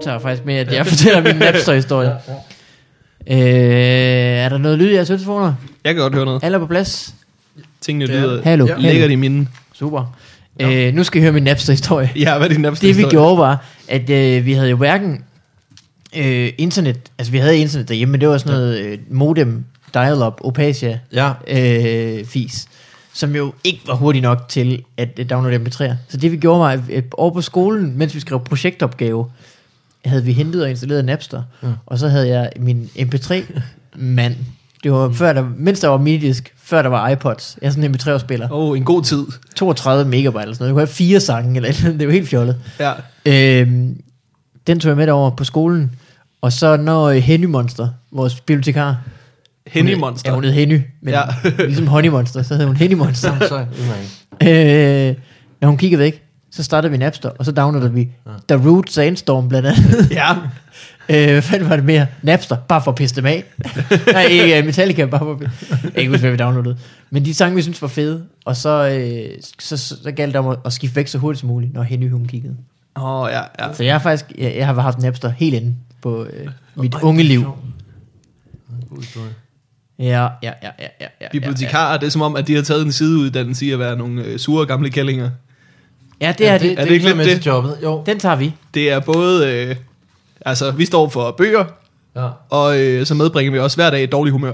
starter faktisk med, at jeg fortæller min Napster-historie. Øh, er der noget lyd i jeres telefoner? Jeg kan godt høre noget. Alle er på plads? Tingene lyder Hallo. ja. lækkert i mine. Super. Øh, nu skal I høre min Napster-historie. Ja, hvad er din Napster Det vi gjorde var, at øh, vi havde jo hverken øh, internet, altså vi havde internet derhjemme, men det var sådan noget øh, modem, dial-up, Opasia Ja. øh, fis, som jo ikke var hurtig nok til at øh, downloade MP3'er. Så det vi gjorde var, at, at over på skolen, mens vi skrev projektopgave, havde vi hentet og installeret Napster, mm. og så havde jeg min MP3-mand. Det var før der, mens der var minidisk, før der var iPods. Jeg er sådan en MP3-spiller. Åh, oh, en god tid. 32 megabyte eller sådan noget. Du kunne have fire sange eller et eller andet. Det var helt fjollet. Ja. Øhm, den tog jeg med over på skolen. Og så når Henny Monster, vores bibliotekar, Henny hun- Monster. Ja, hun hed Henny, men ja. Ja. ligesom Honey Monster, så hed hun Henny Monster. Så er altså, udmærket. øh, når hun kiggede væk, så startede vi Napster, og så downloadede vi The Root Sandstorm blandt andet. Ja. øh, hvad fanden var det mere? Napster, bare for at pisse dem af. Nej, ikke øh, Metallica, bare for at pisse. Jeg kan ikke huske, hvad vi downloadede. Men de sange, vi synes var fede, og så, øh, så, så, så galt det om at, at skifte væk så hurtigt som muligt, når Henny hun kiggede. Åh, oh, ja, ja. Så jeg har faktisk, jeg, jeg har haft Napster helt inde på øh, mit unge liv. Ja, ja, ja, ja, ja, ja. Bibliotekarer, det er som om, at de har taget en sideuddannelse i at være nogle øh, sure gamle kællinger. Ja, det er det. det ikke lidt ligesom med det? til jobbet? Jo. Den tager vi. Det er både... Øh, altså, vi står for bøger, Ja. og øh, så medbringer vi også hver dag et dårligt humør.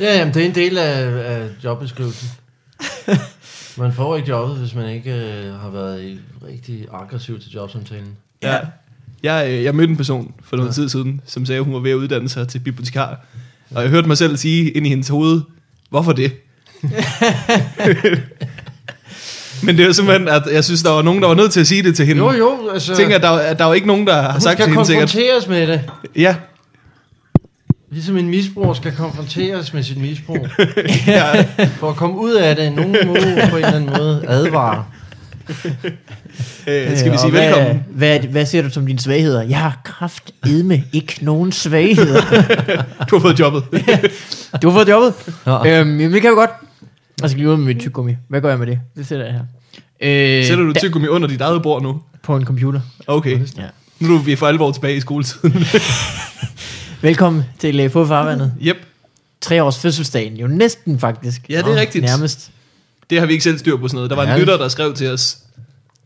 Ja, jamen, det er en del af, af jobbeskrivelsen. Man får ikke jobbet, hvis man ikke øh, har været i- rigtig aggressiv til jobsamtalen. Ja. ja. Jeg, øh, jeg mødte en person for noget ja. tid siden, som sagde, at hun var ved at uddanne sig til bibliotekar. Og jeg hørte mig selv sige ind i hendes hoved, hvorfor det? Men det er jo simpelthen, at jeg synes, der var nogen, der var nødt til at sige det til hende. Jo, jo, altså... Jeg tænker, at der, at der er jo ikke nogen, der har hun sagt til skal hende sikkert. konfronteres med det. Ja, Ligesom en misbruger skal konfronteres med sit misbrug. ja, For at komme ud af det, nogen må på en eller anden måde advare. øh, skal Øh, vi og sige hvad, velkommen? Hvad, hvad siger du som dine svagheder? Jeg har kraftedme ikke nogen svagheder. Du har fået jobbet. du har fået jobbet. Ja. Øhm, jamen, det kan jo godt. Jeg skal lige ud med mit tyggegummi. Hvad gør jeg med det? Det sætter jeg her. Øh, Sætter du da- tyggegummi under dit eget bord nu? På en computer. Okay. Ja. Nu er vi for alvor tilbage i skoletiden. Velkommen til uh, På Farvandet. Jep. Tre års fødselsdagen, jo næsten faktisk. Ja, det er rigtigt. Nærmest. Det har vi ikke selv styr på sådan noget. Der var en Ja. lytter, der skrev til os,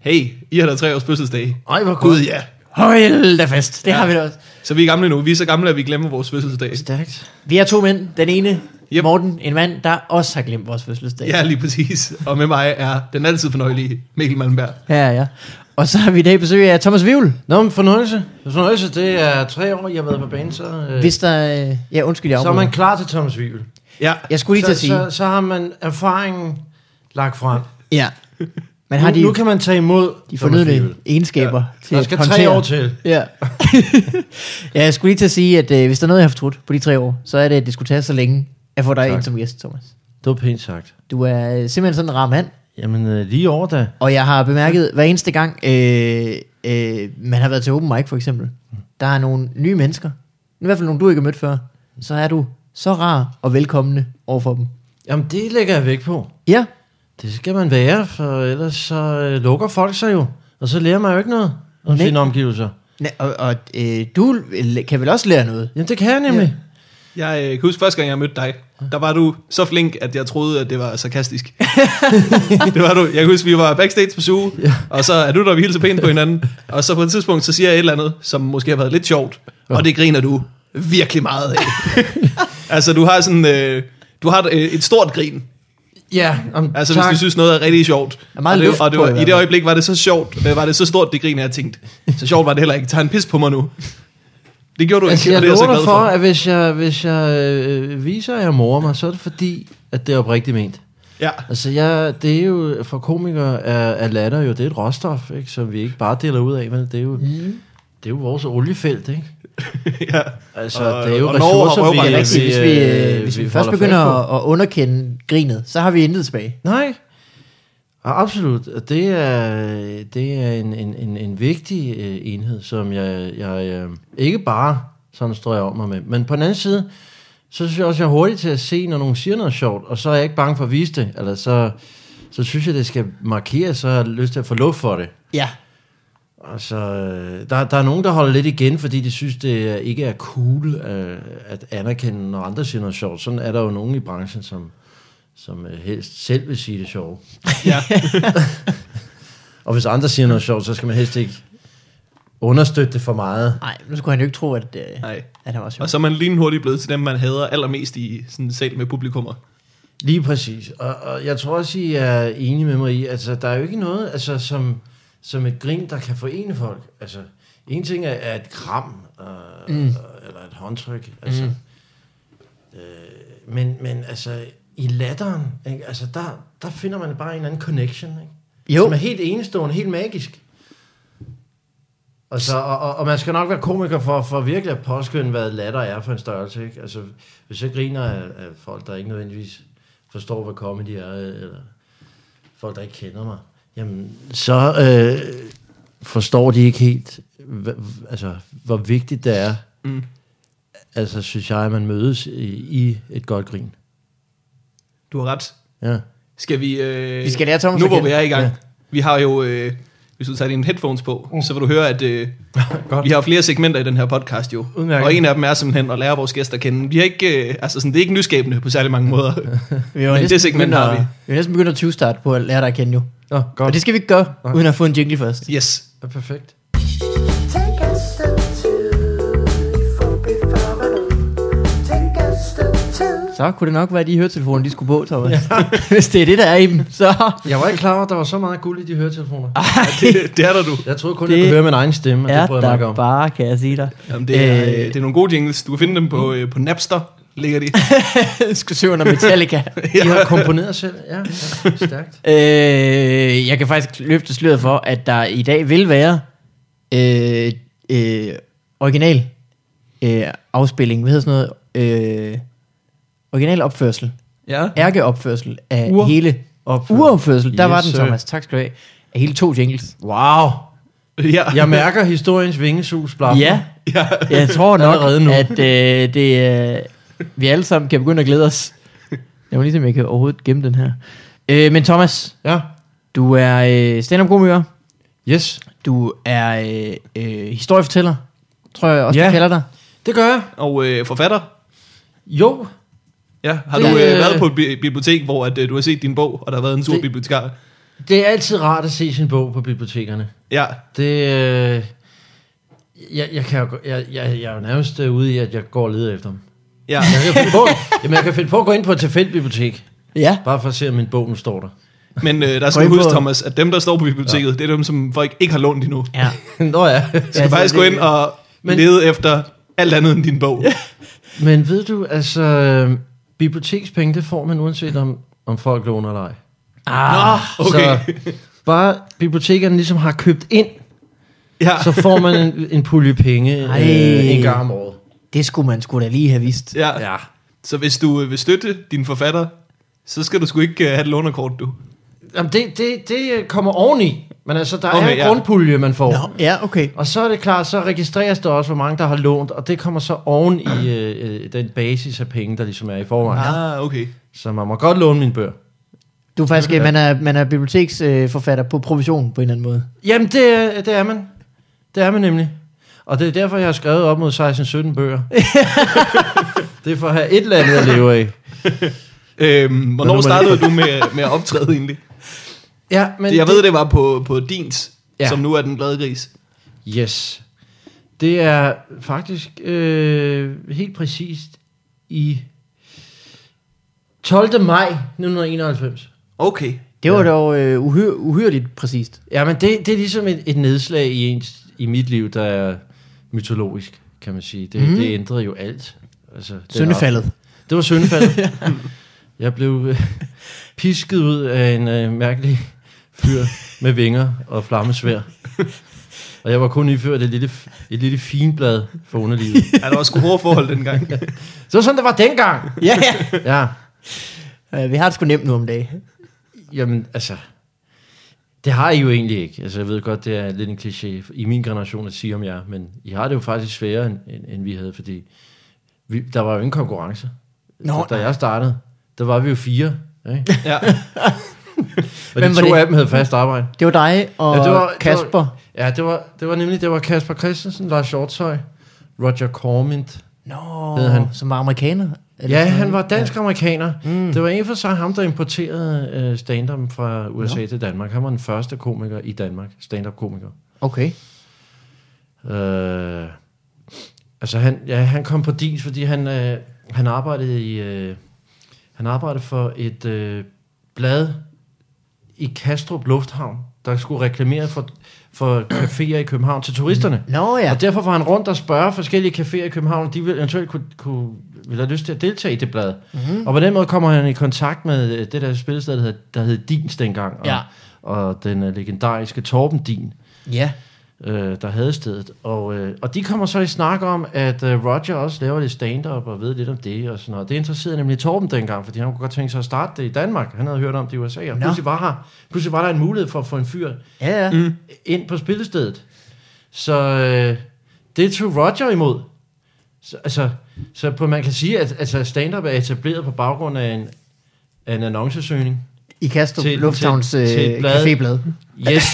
hey, I har da tre års fødselsdag. Ej, hvor Gud godt. ja. Hold da fest. Det Ja. har vi da også. Så vi er gamle nu. Vi er så gamle, at vi glemmer vores fødselsdag. Stærkt. Vi er to mænd. Den ene, Yep. Morten, en mand, der også har glemt vores fødselsdag. Ja, lige præcis. Og med mig er den altid fornøjelige Mikkel Malmberg. ja, ja. Og så har vi i dag besøg af Thomas Vivl. Nå, men fornøjelse. Fornøjelse, det er tre år, jeg har været på banen, så, øh, Hvis der... øh, Ja, undskyld, jeg så er afbryder. man klar til Thomas Vivel. Ja, Jeg skulle lige til Så, at sige. så, så har man erfaringen lagt frem. Ja. Men Nu, har de, nu de, kan man tage imod de Thomas fornødne Wivel. egenskaber ja. til Der at skal håndtere. tre år til. Ja. ja, jeg skulle lige til at sige, at øh, hvis der er noget, jeg har fortrudt på de tre år, så er det, at det skulle tage så længe at få dig Tak. ind som gæst, Thomas. Det var pænt sagt. Du er øh, simpelthen sådan en rar mand, Jamen, øh, lige over da. og jeg har bemærket hver eneste gang, øh, øh, man har været til open mic for eksempel, der er nogle nye mennesker, i hvert fald nogle, du ikke har mødt før, så er du så rar og velkommende overfor dem. Jamen, det lægger jeg væk på. Ja, Det skal man være, for ellers så øh, lukker folk sig jo. Og så lærer man jo ikke noget om Nej. sine omgivelser. Næ- og, og øh, du øh, kan vel også lære noget? Jamen, det kan jeg nemlig. jeg øh, kan huske første gang, jeg mødte dig. Der var du så flink, at jeg troede, at det var sarkastisk. det var du. Jeg kan huske, vi var backstage på suge, og så er du der, og vi hilser pænt på hinanden. Og så på et tidspunkt, så siger jeg et eller andet, som måske har været lidt sjovt, og det griner du virkelig meget af. altså, du har sådan... Øh, du har et, øh, et stort grin, Ja, om, altså tak. hvis du synes noget er rigtig sjovt. er meget og det, luft og det på, var, i hvert i det fald. øjeblik var det så sjovt, øh, var det så stort det grin, jeg havde tænkt. Så sjovt var det heller ikke. Tag en pis på mig nu. Det gjorde du altså, ikke, jeg og det er jeg så lover glad dig for. for, at hvis jeg, hvis jeg øh, viser, at jeg morer mig, så er det fordi, at det er oprigtigt ment. Ja, Altså, jeg, det er jo, for komikere er, er latter jo, det er et råstof, ikke, som vi ikke bare deler ud af, men det er jo, mm. det er jo vores oliefelt, ikke? ja. Altså, Og- og, det er jo og Norge har ressourcer, røvbarnet. Det er Ja, rigtigt. Hvis vi, øh, hvis vi, først holder begynder fast på. at, at underkende grinet, så har vi intet tilbage. Nej, og absolut. Og det er, det er en, en, en, en vigtig øh, enhed, som jeg, jeg øh, ikke bare sådan står jeg om mig med. Men på den anden side, så synes jeg også, jeg er hurtig til at se, når nogen siger noget sjovt, og så er jeg ikke bange for at vise det. Eller så, så synes jeg, det skal markeres, så har jeg lyst til at få luft for det. Ja. Altså, øh, der, der er nogen, der holder lidt igen, fordi de synes, det er- ikke er cool øh, at anerkende, når andre siger noget sjovt. Sådan er der jo nogen i branchen, som, som øh, helst selv vil sige det sjove. Ja. Og hvis andre siger noget sjovt, så skal man helst ikke understøtte det for meget. Nej, nu skulle han jo ikke tro, at, øh, Nej. at han var sjov. Og så er man lynhurtigt blevet til dem, man hader allermest i sådan en sal med publikummer. Lige præcis. Og, og jeg tror også, I er enige med mig i, altså der er jo ikke noget, altså som, som et grin, der kan forene folk. Altså, en ting er, er et kram, øh, mm. eller et håndtryk, altså. Mm. Øh, men, men altså, i latteren, ikke? altså der, der finder man bare en eller anden connection, ikke? Jo. Som er helt enestående, helt magisk. Og, så, og, og, og man skal nok være komiker for, for virkelig at påskynde, hvad latter er for en størrelse. Ikke? Altså, hvis jeg griner af, af folk, der ikke nødvendigvis forstår, hvad comedy er, eller folk, der ikke kender mig, jamen, så øh, forstår de ikke helt, hva, altså, hvor vigtigt det er, Mm. altså, synes jeg, at man mødes i, i et godt grin. Du har ret. Ja. Skal vi... Øh, Vi skal lære Thomas Nu at hvor kende. vi er i gang. Ja. Ja. Vi har jo... Øh, hvis du tager dine headphones på, mm. så vil du høre, at øh, vi har flere segmenter i den her podcast jo. Udmærket. Og en af dem er simpelthen at lære vores gæster at kende. Vi er ikke, øh, altså sådan, det er ikke nyskabende på særlig mange måder. Vi var Men næsten det segment begyndt har at- vi. Vi er næsten begyndt at 20 start på at lære dig at kende jo. Nå, Og godt. det Det skal vi ikke gøre, Nej. uden at få en jingle først. yes. er perfekt. Take a step two, before before I Take a step two. Så kunne det nok være, at de høretelefoner, de skulle på, Thomas. Ja. Hvis det er det, der er i dem, så... Jeg var ikke klar over, at der var så meget guld i de høretelefoner. det, det er der du. Jeg troede kun, Det det jeg kunne høre min egen stemme, og Er det bryder jeg mig ikke der om. bare, kan jeg sige dig. Jamen, det, er, øh, Øh. det er nogle gode jingles. Du kan finde dem på, øh, på Napster, ligger de. skal søge under Metallica. I har komponeret selv, ja, ja stærkt. øh, jeg kan faktisk løfte sløret for, at der i dag vil være øh, øh, original øh, afspilling. Hvad hedder sådan noget? Øh, original opførsel. ja. Ærkeopførsel af Ur- hele... opførsel. Uropførsel. Der Yes, var den, sir. Thomas. Tak skal du have. Af hele to jingles. Wow. ja. Jeg mærker historiens vingesus blaf. Ja, ja. jeg tror nok, Ah. Allerede nu. at øh, det, øh, vi alle sammen kan begynde at glæde os. Jeg må ligesom, jeg kan overhovedet gemme den her. Øh, men Thomas, Ja. du er øh, stand-up-komiker. Yes. Du er øh, øh, historiefortæller, tror jeg også, ja. Ja. du kalder dig. Det gør jeg. Og øh, forfatter. Jo. Ja. Har Det- du øh, været på et bi- bibliotek, hvor at, øh, du har set din bog, og der har været en sur Det- bibliotekar? Det er altid rart at se sin bog på bibliotekerne. Ja. Det, øh, jeg, jeg, kan jo, gå- jeg, jeg, jeg er jo nærmest øh, ude i, at jeg går og leder efter dem. Ja. Jeg kan finde på, jamen, jeg kan finde på at gå ind på et tilfældigt bibliotek, Ja. bare for at se, om min bog nu står der. Men øh, der Gå skal du ind på- huske, Thomas, at dem, der står på biblioteket, ja. det er dem, som folk ikke har lånt endnu. ja. Nå ja. Du skal altså, faktisk det- gå ind og Men- lede efter alt andet end din bog. Men ved du, altså, øh, bibliotekspenge, det får man uanset om, om folk låner eller ej. Ah, Okay. Så bare bibliotekerne ligesom har købt ind, Ja. så får man en, en pulje penge Ej. øh, en gang om året. det skulle man skulle da lige have vist. ja. ja. Så hvis du øh, vil støtte din forfatter, så skal du sgu ikke øh, have et lånerkort, du. Jamen, det, det, det kommer oveni. Men altså, der okay, Okay, er en ja. ja. grundpulje, man får. Nå, ja, okay. Og så er det klart, så registreres der også, hvor mange der har lånt, og det kommer så oven i øh, øh, den basis af penge, der ligesom er i forvejen. Ja. Ah, okay. Så man må godt låne mine bøger. Du er faktisk, øh, man er, man er biblioteksforfatter øh, forfatter på provision på en eller anden måde. Jamen, det, er- det er man. Det er man nemlig. Og det er derfor, jeg har skrevet op mod 16-17 bøger. det er for at have et eller andet at leve af. Øhm, hvornår nummer- startede du med, med at optræde egentlig? Ja, men Jeg ved, det var på, på Dins, ja. Ja. som nu er den glade gris. Yes. Det er faktisk øh, helt præcist i 12. maj 1991. Okay. Det var ja. dog øh, uhyr, uhyrligt præcist. Ja, men det, det er ligesom et, et nedslag i, ens, i mit liv, der er mytologisk, kan man sige. Det, mm. det ændrede jo alt. Altså, den Søndefaldet. aften. Det var søndefaldet. jeg blev øh, pisket ud af en øh, mærkelig fyr med vinger og flammesvær. Og jeg var kun iført et lille, et lille finblad for underlivet. Ja, der var sgu hårde forhold dengang. Det var sådan, det var dengang. ja, ja. Ja, Øh, vi har det sgu nemt nu om dagen. jamen altså, det har I jo egentlig ikke. Altså, jeg ved godt, det er lidt en kliché i min generation at sige om jer, men I har det jo faktisk sværere, end, end, end vi havde, fordi vi, der var jo ingen konkurrence. Altså, Nå, da jeg startede, der var vi jo fire. Ikke? Ja. Og Hvem de var to det? af dem havde fast arbejde. Det var dig og ja, det var, Kasper. Det var, ja, det var, det var nemlig, det var Kasper Christensen, Lars Hjortøj, Roger Cormint. Nå, Hed han. han. som var amerikaner. Eller Ja, sådan han noget. var dansk-amerikaner. Mm. Det var en for sig ham, der importerede øh, stand-up fra USA til Danmark. Han var den første komiker i Danmark, stand-up-komiker. Okay. Øh, altså han, ja, han kom på DIS, fordi han, øh, han arbejdede i, øh, han arbejdede for et øh, blad i Kastrup Lufthavn, der skulle reklamere for, for caféer i København til turisterne. Nå Ja. ja. Og derfor var han rundt og spørge forskellige caféer i København, de ville eventuelt kunne, kunne, ville have lyst til at deltage i det blad. Mhm. Mm-hmm. Og på den måde kommer han i kontakt med øh, det der spillested, der hed, der hed Dins dengang, og, Ja. og den øh, legendariske Torben Din, Ja. øh, der havde stedet. Og, øh, og de kommer så i snak om, at øh, Roger også laver lidt stand-up og ved lidt om det og sådan noget. Det interesserede nemlig Torben dengang, fordi han kunne godt tænke sig at starte det i Danmark. Han havde hørt om det i USA, og Nå. pludselig var, her, pludselig var der en mulighed for at få en fyr Ja, ja. mm. ind på spillestedet. Så øh, det tog Roger imod. Så, altså, så på, man kan sige, at altså, stand-up er etableret på baggrund af en, af en annoncesøgning. I Kastrup Til- Lufthavns til- til et øh, blad. caféblad. Yes.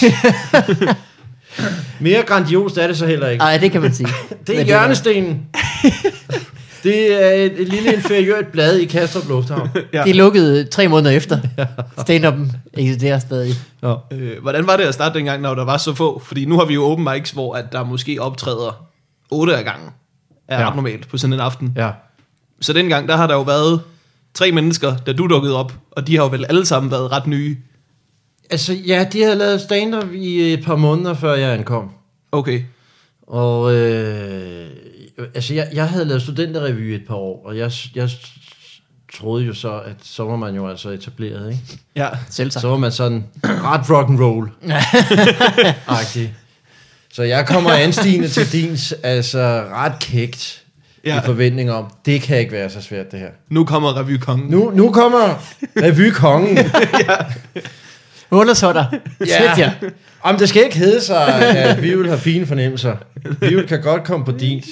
Mere grandiost er det så heller ikke. Nej, det kan man sige. Det Hvad er hjørnestenen. det er et, et lille inferiørt blad i Kastrup Lufthavn. Ja. Det lukkede tre måneder efter. Stand-up'en eksisterer stadig. Ja. Øh, hvordan var det at starte dengang, når der var så få? Fordi nu har vi jo open mics, hvor at der måske optræder otte af gangen. Er Ja. ja. ret normalt på sådan en aften. ja. Så dengang, der har der jo været tre mennesker, da du dukkede op. Og de har jo vel alle sammen været ret nye. Altså, ja, de havde lavet stand-up i et par måneder, før jeg ankom. Okay. Og øh, altså, jeg, jeg havde lavet studenterrevy et par år, og jeg, jeg troede jo så, at så var man jo altså etableret, ikke? Ja. Selv tak. Så var man sådan ret rock and roll agtig Så jeg kommer anstigende til dins, altså ret kægt, ja. Ja. i forventning om, det kan ikke være så svært det her. Nu kommer revykongen. Nu, nu kommer revykongen. Hun så dig. Slet jer. Om det skal ikke hedde sig, at vi vil have fine fornemmelser. Vi vil kan godt komme på din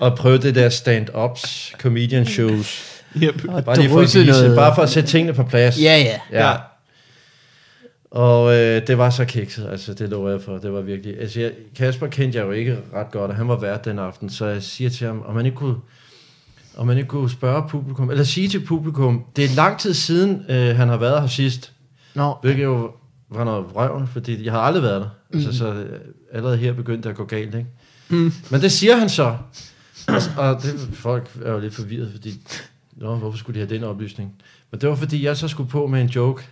og prøve det der stand-ups, comedian shows. Yep. Og Bare lige for at, drysset vise, noget. bare for at sætte tingene på plads. Ja, ja. ja. Ja. Og øh, det var så kikset, altså det lover jeg for, det var virkelig. Altså jeg, Kasper kendte jeg jo ikke ret godt, og han var vært den aften, så jeg siger til ham, om man ikke kunne, om man ikke kunne spørge publikum, eller sige til publikum, det er lang tid siden, øh, han har været her sidst. Nå, Hvilket jo var noget vrøvl, fordi jeg har aldrig været der. Mm. Altså, så øh, allerede her begyndte det at gå galt, ikke? Mm. Men det siger han så. Og, og det, folk er jo lidt forvirret, fordi... Nå, hvorfor skulle de have den oplysning? Men det var, fordi jeg så skulle på med en joke,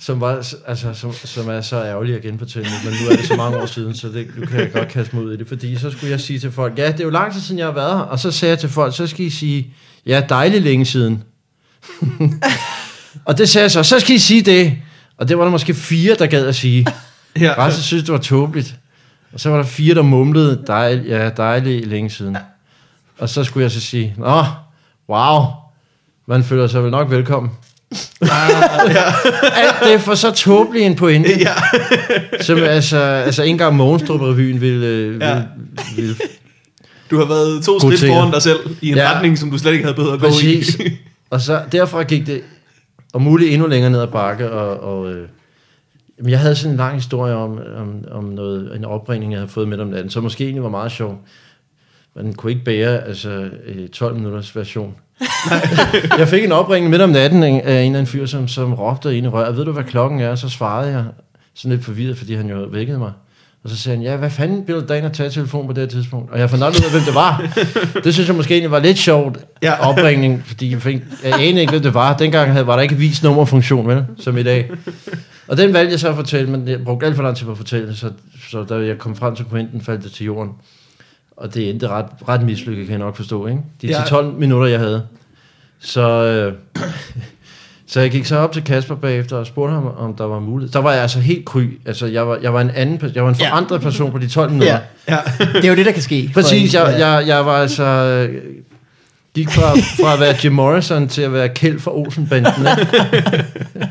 som, var, altså, som, som er så ærgerlig at genfortælle, men nu er det så mange år siden, så det, nu kan jeg godt kaste mig ud i det, fordi så skulle jeg sige til folk, ja, det er jo lang tid siden, jeg har været her, og så sagde jeg til folk, så skal I sige, ja, dejligt længe siden. Og det sagde jeg så, så skal I sige det. Og det var der måske fire, der gad at sige. Ja. Resten synes, det var tåbeligt. Og så var der fire, der mumlede, Dejl, ja, dejligt længe siden. Og så skulle jeg så sige, nå, wow, man føler sig vel nok velkommen. Alt det for så tåbelig en pointe. Ja. Som altså, altså ikke engang Mogenstrup-revyen ville, øh, Ja. ville, ville Du har været to skridt Godtere. foran dig selv i en Ja. ja. retning, som du slet ikke havde behøvet at gå Præcis. i. og så derfra gik det om muligt endnu længere ned ad bakke, og, og øh, jamen, jeg havde sådan en lang historie om, om, om noget, en opringning, jeg havde fået midt om natten, så måske egentlig var meget sjov. Men den kunne ikke bære altså, øh, 12 minutters version. jeg fik en opringning midt om natten af en eller anden fyr, som, som råbte ind i røret, ved du hvad klokken er? Så svarede jeg sådan lidt forvirret, fordi han jo vækkede mig. Og så sagde han, ja, hvad fanden billede dagen at tage telefon på det her tidspunkt? Og jeg fandt aldrig ud af, hvem det var. Det synes jeg måske egentlig var lidt sjovt ja. Ja. opringning, fordi jeg, fik, jeg anede ikke, hvem det var. Dengang havde, var der ikke vis nummerfunktion, vel, som i dag. Og den valgte jeg så at fortælle, men jeg brugte alt for lang tid på at fortælle, det, så, så da jeg kom frem til pointen, faldt det til jorden. Og det endte ret, ret mislykket, kan jeg nok forstå, ikke? De Ja. 10-12 minutter, jeg havde. Så, øh, så jeg gik så op til Kasper bagefter og spurgte ham, om der var mulighed. Der var jeg altså helt kry. Altså, jeg var, jeg var en anden person. Jeg var en Ja. forandret person på de 12 minutter. Ja. Ja. det er jo det, der kan ske. for Præcis, en, jeg, ja. jeg, jeg var altså... øh, Gik fra, fra at være Jim Morrison til at være Kjeld fra Olsenbanden. ikke?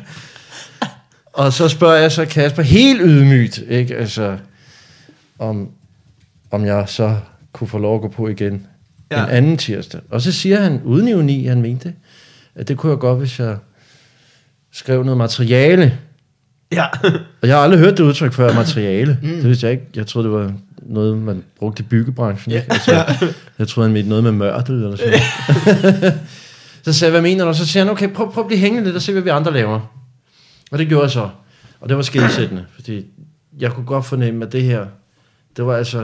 og så spørger jeg så Kasper helt ydmygt, ikke? Altså, om, om jeg så kunne få lov at gå på igen ja. Ja. en anden tirsdag. Og så siger han, uden ironi, han mente, at det kunne jeg godt, hvis jeg skrev noget materiale. Ja. Og jeg har aldrig hørt det udtryk før, materiale. Mm. Det vidste jeg ikke. Jeg troede, det var noget, man brugte i byggebranchen. Yeah. Jeg, troede, jeg troede, han mente noget med mørtel eller sådan noget. Så sagde jeg, hvad mener du? Så siger han, okay, prøv, prøv at blive hængende lidt og se, hvad vi andre laver. Og det gjorde jeg så. Og det var skilsættende, fordi jeg kunne godt fornemme, at det her, det var altså,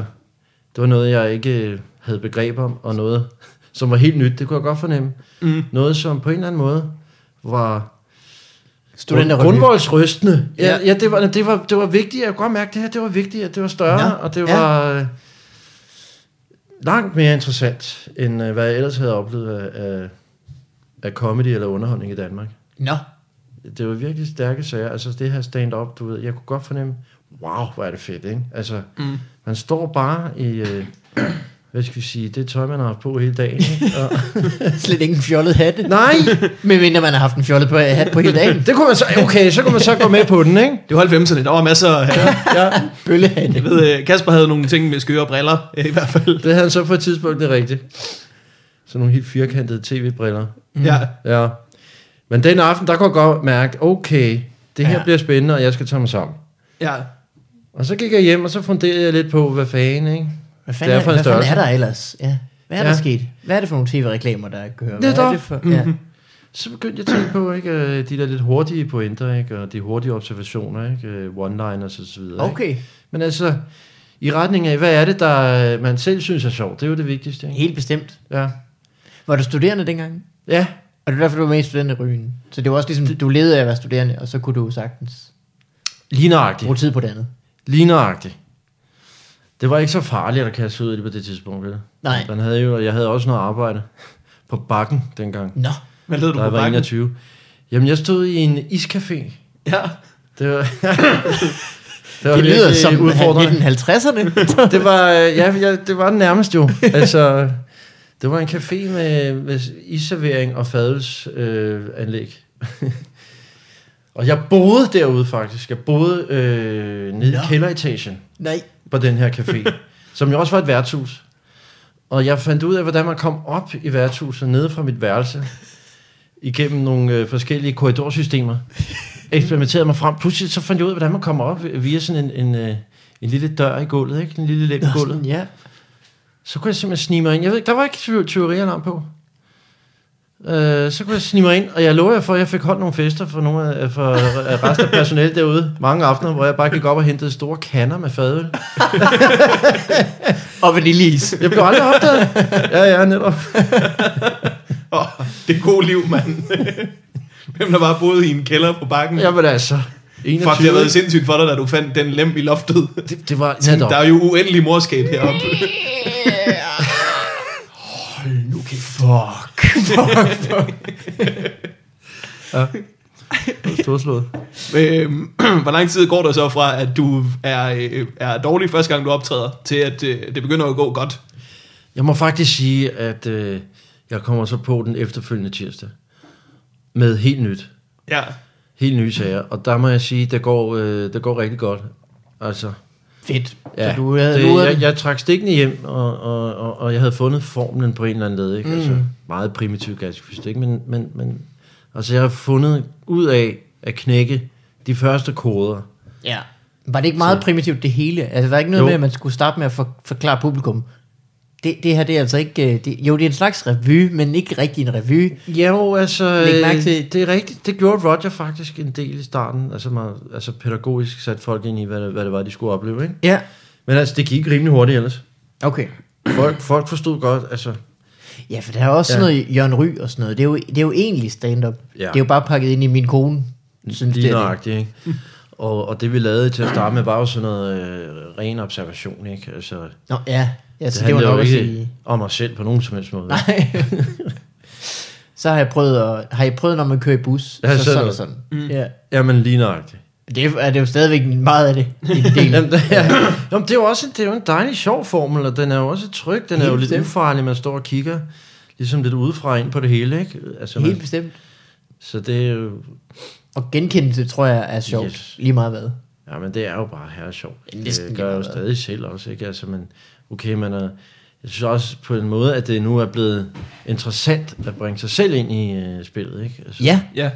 det var noget, jeg ikke øh, havde begreb om, og noget, som var helt nyt, det kunne jeg godt fornemme. Mm. Noget, som på en eller anden måde var Studenterrevy. grundvoldsrystende. Ja, Ja. ja det, var, det, var, det var vigtigt, jeg kunne godt mærke det her, det var vigtigt, at det var større, Ja. ja. og det Ja. var øh, langt mere interessant, end øh, hvad jeg ellers havde oplevet af, af, af comedy eller underholdning i Danmark Nå, det var virkelig stærke sager. Altså det her stand-up, du ved, jeg kunne godt fornemme, wow, hvor er det fedt, ikke? Altså, mm. man står bare i, øh, hvad skal vi sige, det tøj, man har haft på hele dagen. Ikke? Og, slet ikke en fjollet hatte. nej, Men mindre man har haft en fjollet på, hat på hele dagen. det kunne man så, okay, så kunne man så gå med på den, ikke? Det var 90'erne, der var masser af... Ja, Bøllehatte. Jeg ved, øh, Kasper havde nogle ting med skøre briller, øh, i hvert fald. det havde han så på et tidspunkt, det er rigtigt. Sådan nogle helt firkantede tv-briller. Ja. Ja. Men den aften, der kunne jeg godt mærke, okay, det her Ja. ja. bliver spændende, og jeg skal tage mig sammen. ja. Og så gik jeg hjem, og så funderede jeg lidt på, hvad fanden, ikke? Hvad fanden, Det er, er for en hvad fanden størrelse. er der ellers? Ja. Hvad er ja. Ja. der sket? Hvad er det for nogle tv-reklamer, der kører? Det Hvad er er der. Mm-hmm. det for? Ja. så begyndte jeg at tænke på, ikke, øh, de der lidt hurtige pointer, ikke, og de hurtige observationer, ikke, øh, one-liners og så videre. Ikke? Okay, Men altså, i retning af, hvad er det, der øh, man selv synes er sjovt? Det er jo det vigtigste, ikke? helt bestemt. Ja. Var du studerende dengang? Ja, Og det er derfor, du var med i studenterryen. Så det var også ligesom, du levede af at være studerende, og så kunne du sagtens ligneragtigt. bruge tid på det andet. Ligneragtigt. Det var ikke så farligt at kaste ud i det på det tidspunkt, vel? Nej. Man havde jo, jeg havde også noget arbejde på bakken dengang, Nå, Hvad lød du da på jeg var bakken? 21. Jamen, jeg stod i en iscafé. Ja. Det var... det, det lyder virkelig som udfordrende. 1950'erne. det var, øh, ja, ja, det var den nærmest jo. Altså, det var en café med, med isservering og fadelsanlæg. Øh, anlæg. og jeg boede derude faktisk. Jeg boede øh, nede Nå. i kælderetagen Nej. på den her café, som jo også var et værtshus. Og jeg fandt ud af, hvordan man kom op i værtshuset nede fra mit værelse, igennem nogle øh, forskellige korridorsystemer. Eksperimenterede mig frem. Pludselig så fandt jeg ud af, hvordan man kommer op via sådan en, en, øh, en lille dør i gulvet, ikke? En lille lem i Nå, gulvet. sådan, ja. Så kunne jeg simpelthen snige mig ind. Jeg ved ikke, der var ikke tyve- tyverialarm på. Øh, så kunne jeg snige mig ind, og jeg lover jer for, at jeg fik holdt nogle fester for, nogle af, for af resten af personalet derude. Mange aftener, hvor jeg bare gik op og hentede store kander med fadøl. Og vaniljeis. Jeg blev aldrig opdaget. Ja, ja, netop. Oh, det er god liv, mand. Hvem der bare boede i en kælder på bakken? Ja. Jeg var da altså Fuck, det 21. har været sindssygt for dig, da du fandt den lem i loftet. det, det var Sådan, netop. Der er jo uendelig morskab heroppe. Fuck. Storslået. Øhm, hvor lang tid går der så fra, at du er, øh, er dårlig første gang, du optræder, til at øh, det begynder at gå godt? Jeg må faktisk sige, at øh, jeg kommer så på den efterfølgende tirsdag. Med helt nyt. Ja. Helt nye sager. Og der må jeg sige, det går, øh, det går rigtig godt. Altså, Fedt. Ja, Så du havde, det, det, du havde jeg, jeg trak stikkene hjem, og, og, og, og jeg havde fundet formlen på en eller anden led. Ikke? Mm. Altså, meget primitiv gaskefysik, ikke? Men, men, men altså, jeg har fundet ud af at knække de første koder. Ja. Var det ikke meget primitivt det hele? Altså var ikke noget jo. Jo. med, at man skulle starte med at for, forklare publikum? Det, det her, det er altså ikke... øh, Det, jo, det er en slags revy, men ikke rigtig en revy. Ja, jo, altså, Læg mærke øh, til- det er rigtigt. Det gjorde Roger faktisk en del i starten. Altså, man, altså pædagogisk satte folk ind i, hvad, det- hvad det var, de skulle opleve. Ikke? Ja. Men altså, det gik rimelig hurtigt ellers. Okay. Folk, folk forstod godt, altså... Ja, for der er også ja. Ja. sådan noget Jørgen Ry og sådan noget. Det er jo, det er jo egentlig stand-up. Ja. Ja. Det er jo bare pakket ind i min kone. Synes det Lige Mm. er det. nøjagtigt, ikke? Og, og det vi lavede til at starte med, var jo sådan noget øh, ren observation, ikke? Altså, det, Nå, ja. ja så Altså, det, det var nok handlede jo at ikke sige... om os selv på nogen som helst måde. Nej. så har jeg prøvet at... Har I prøvet, når man kører i bus? Ja, så sådan sådan og noget. sådan. Mm. Ja. Jamen lige nøjagtigt. Det er, er det jo stadigvæk meget af det. En del. Jamen, det, ja. Jamen, det er jo også det er jo en dejlig sjov formel, og den er jo også tryg. Den er jo Helt lidt bestemt. ufarlig, man står og kigger ligesom lidt udefra ind på det hele, ikke? Altså, Helt man, bestemt. så det er jo... Og genkendelse, tror jeg, er sjovt. Yes. Yes. Lige meget hvad. Ja, men det er jo bare her sjovt. Ja, næsten Det gør jeg jo lige meget. stadig selv også, ikke? Altså, men okay, man er, jeg synes også på en måde, at det nu er blevet interessant at bringe sig selv ind i øh, spillet, ikke? Altså, Ja, Ja.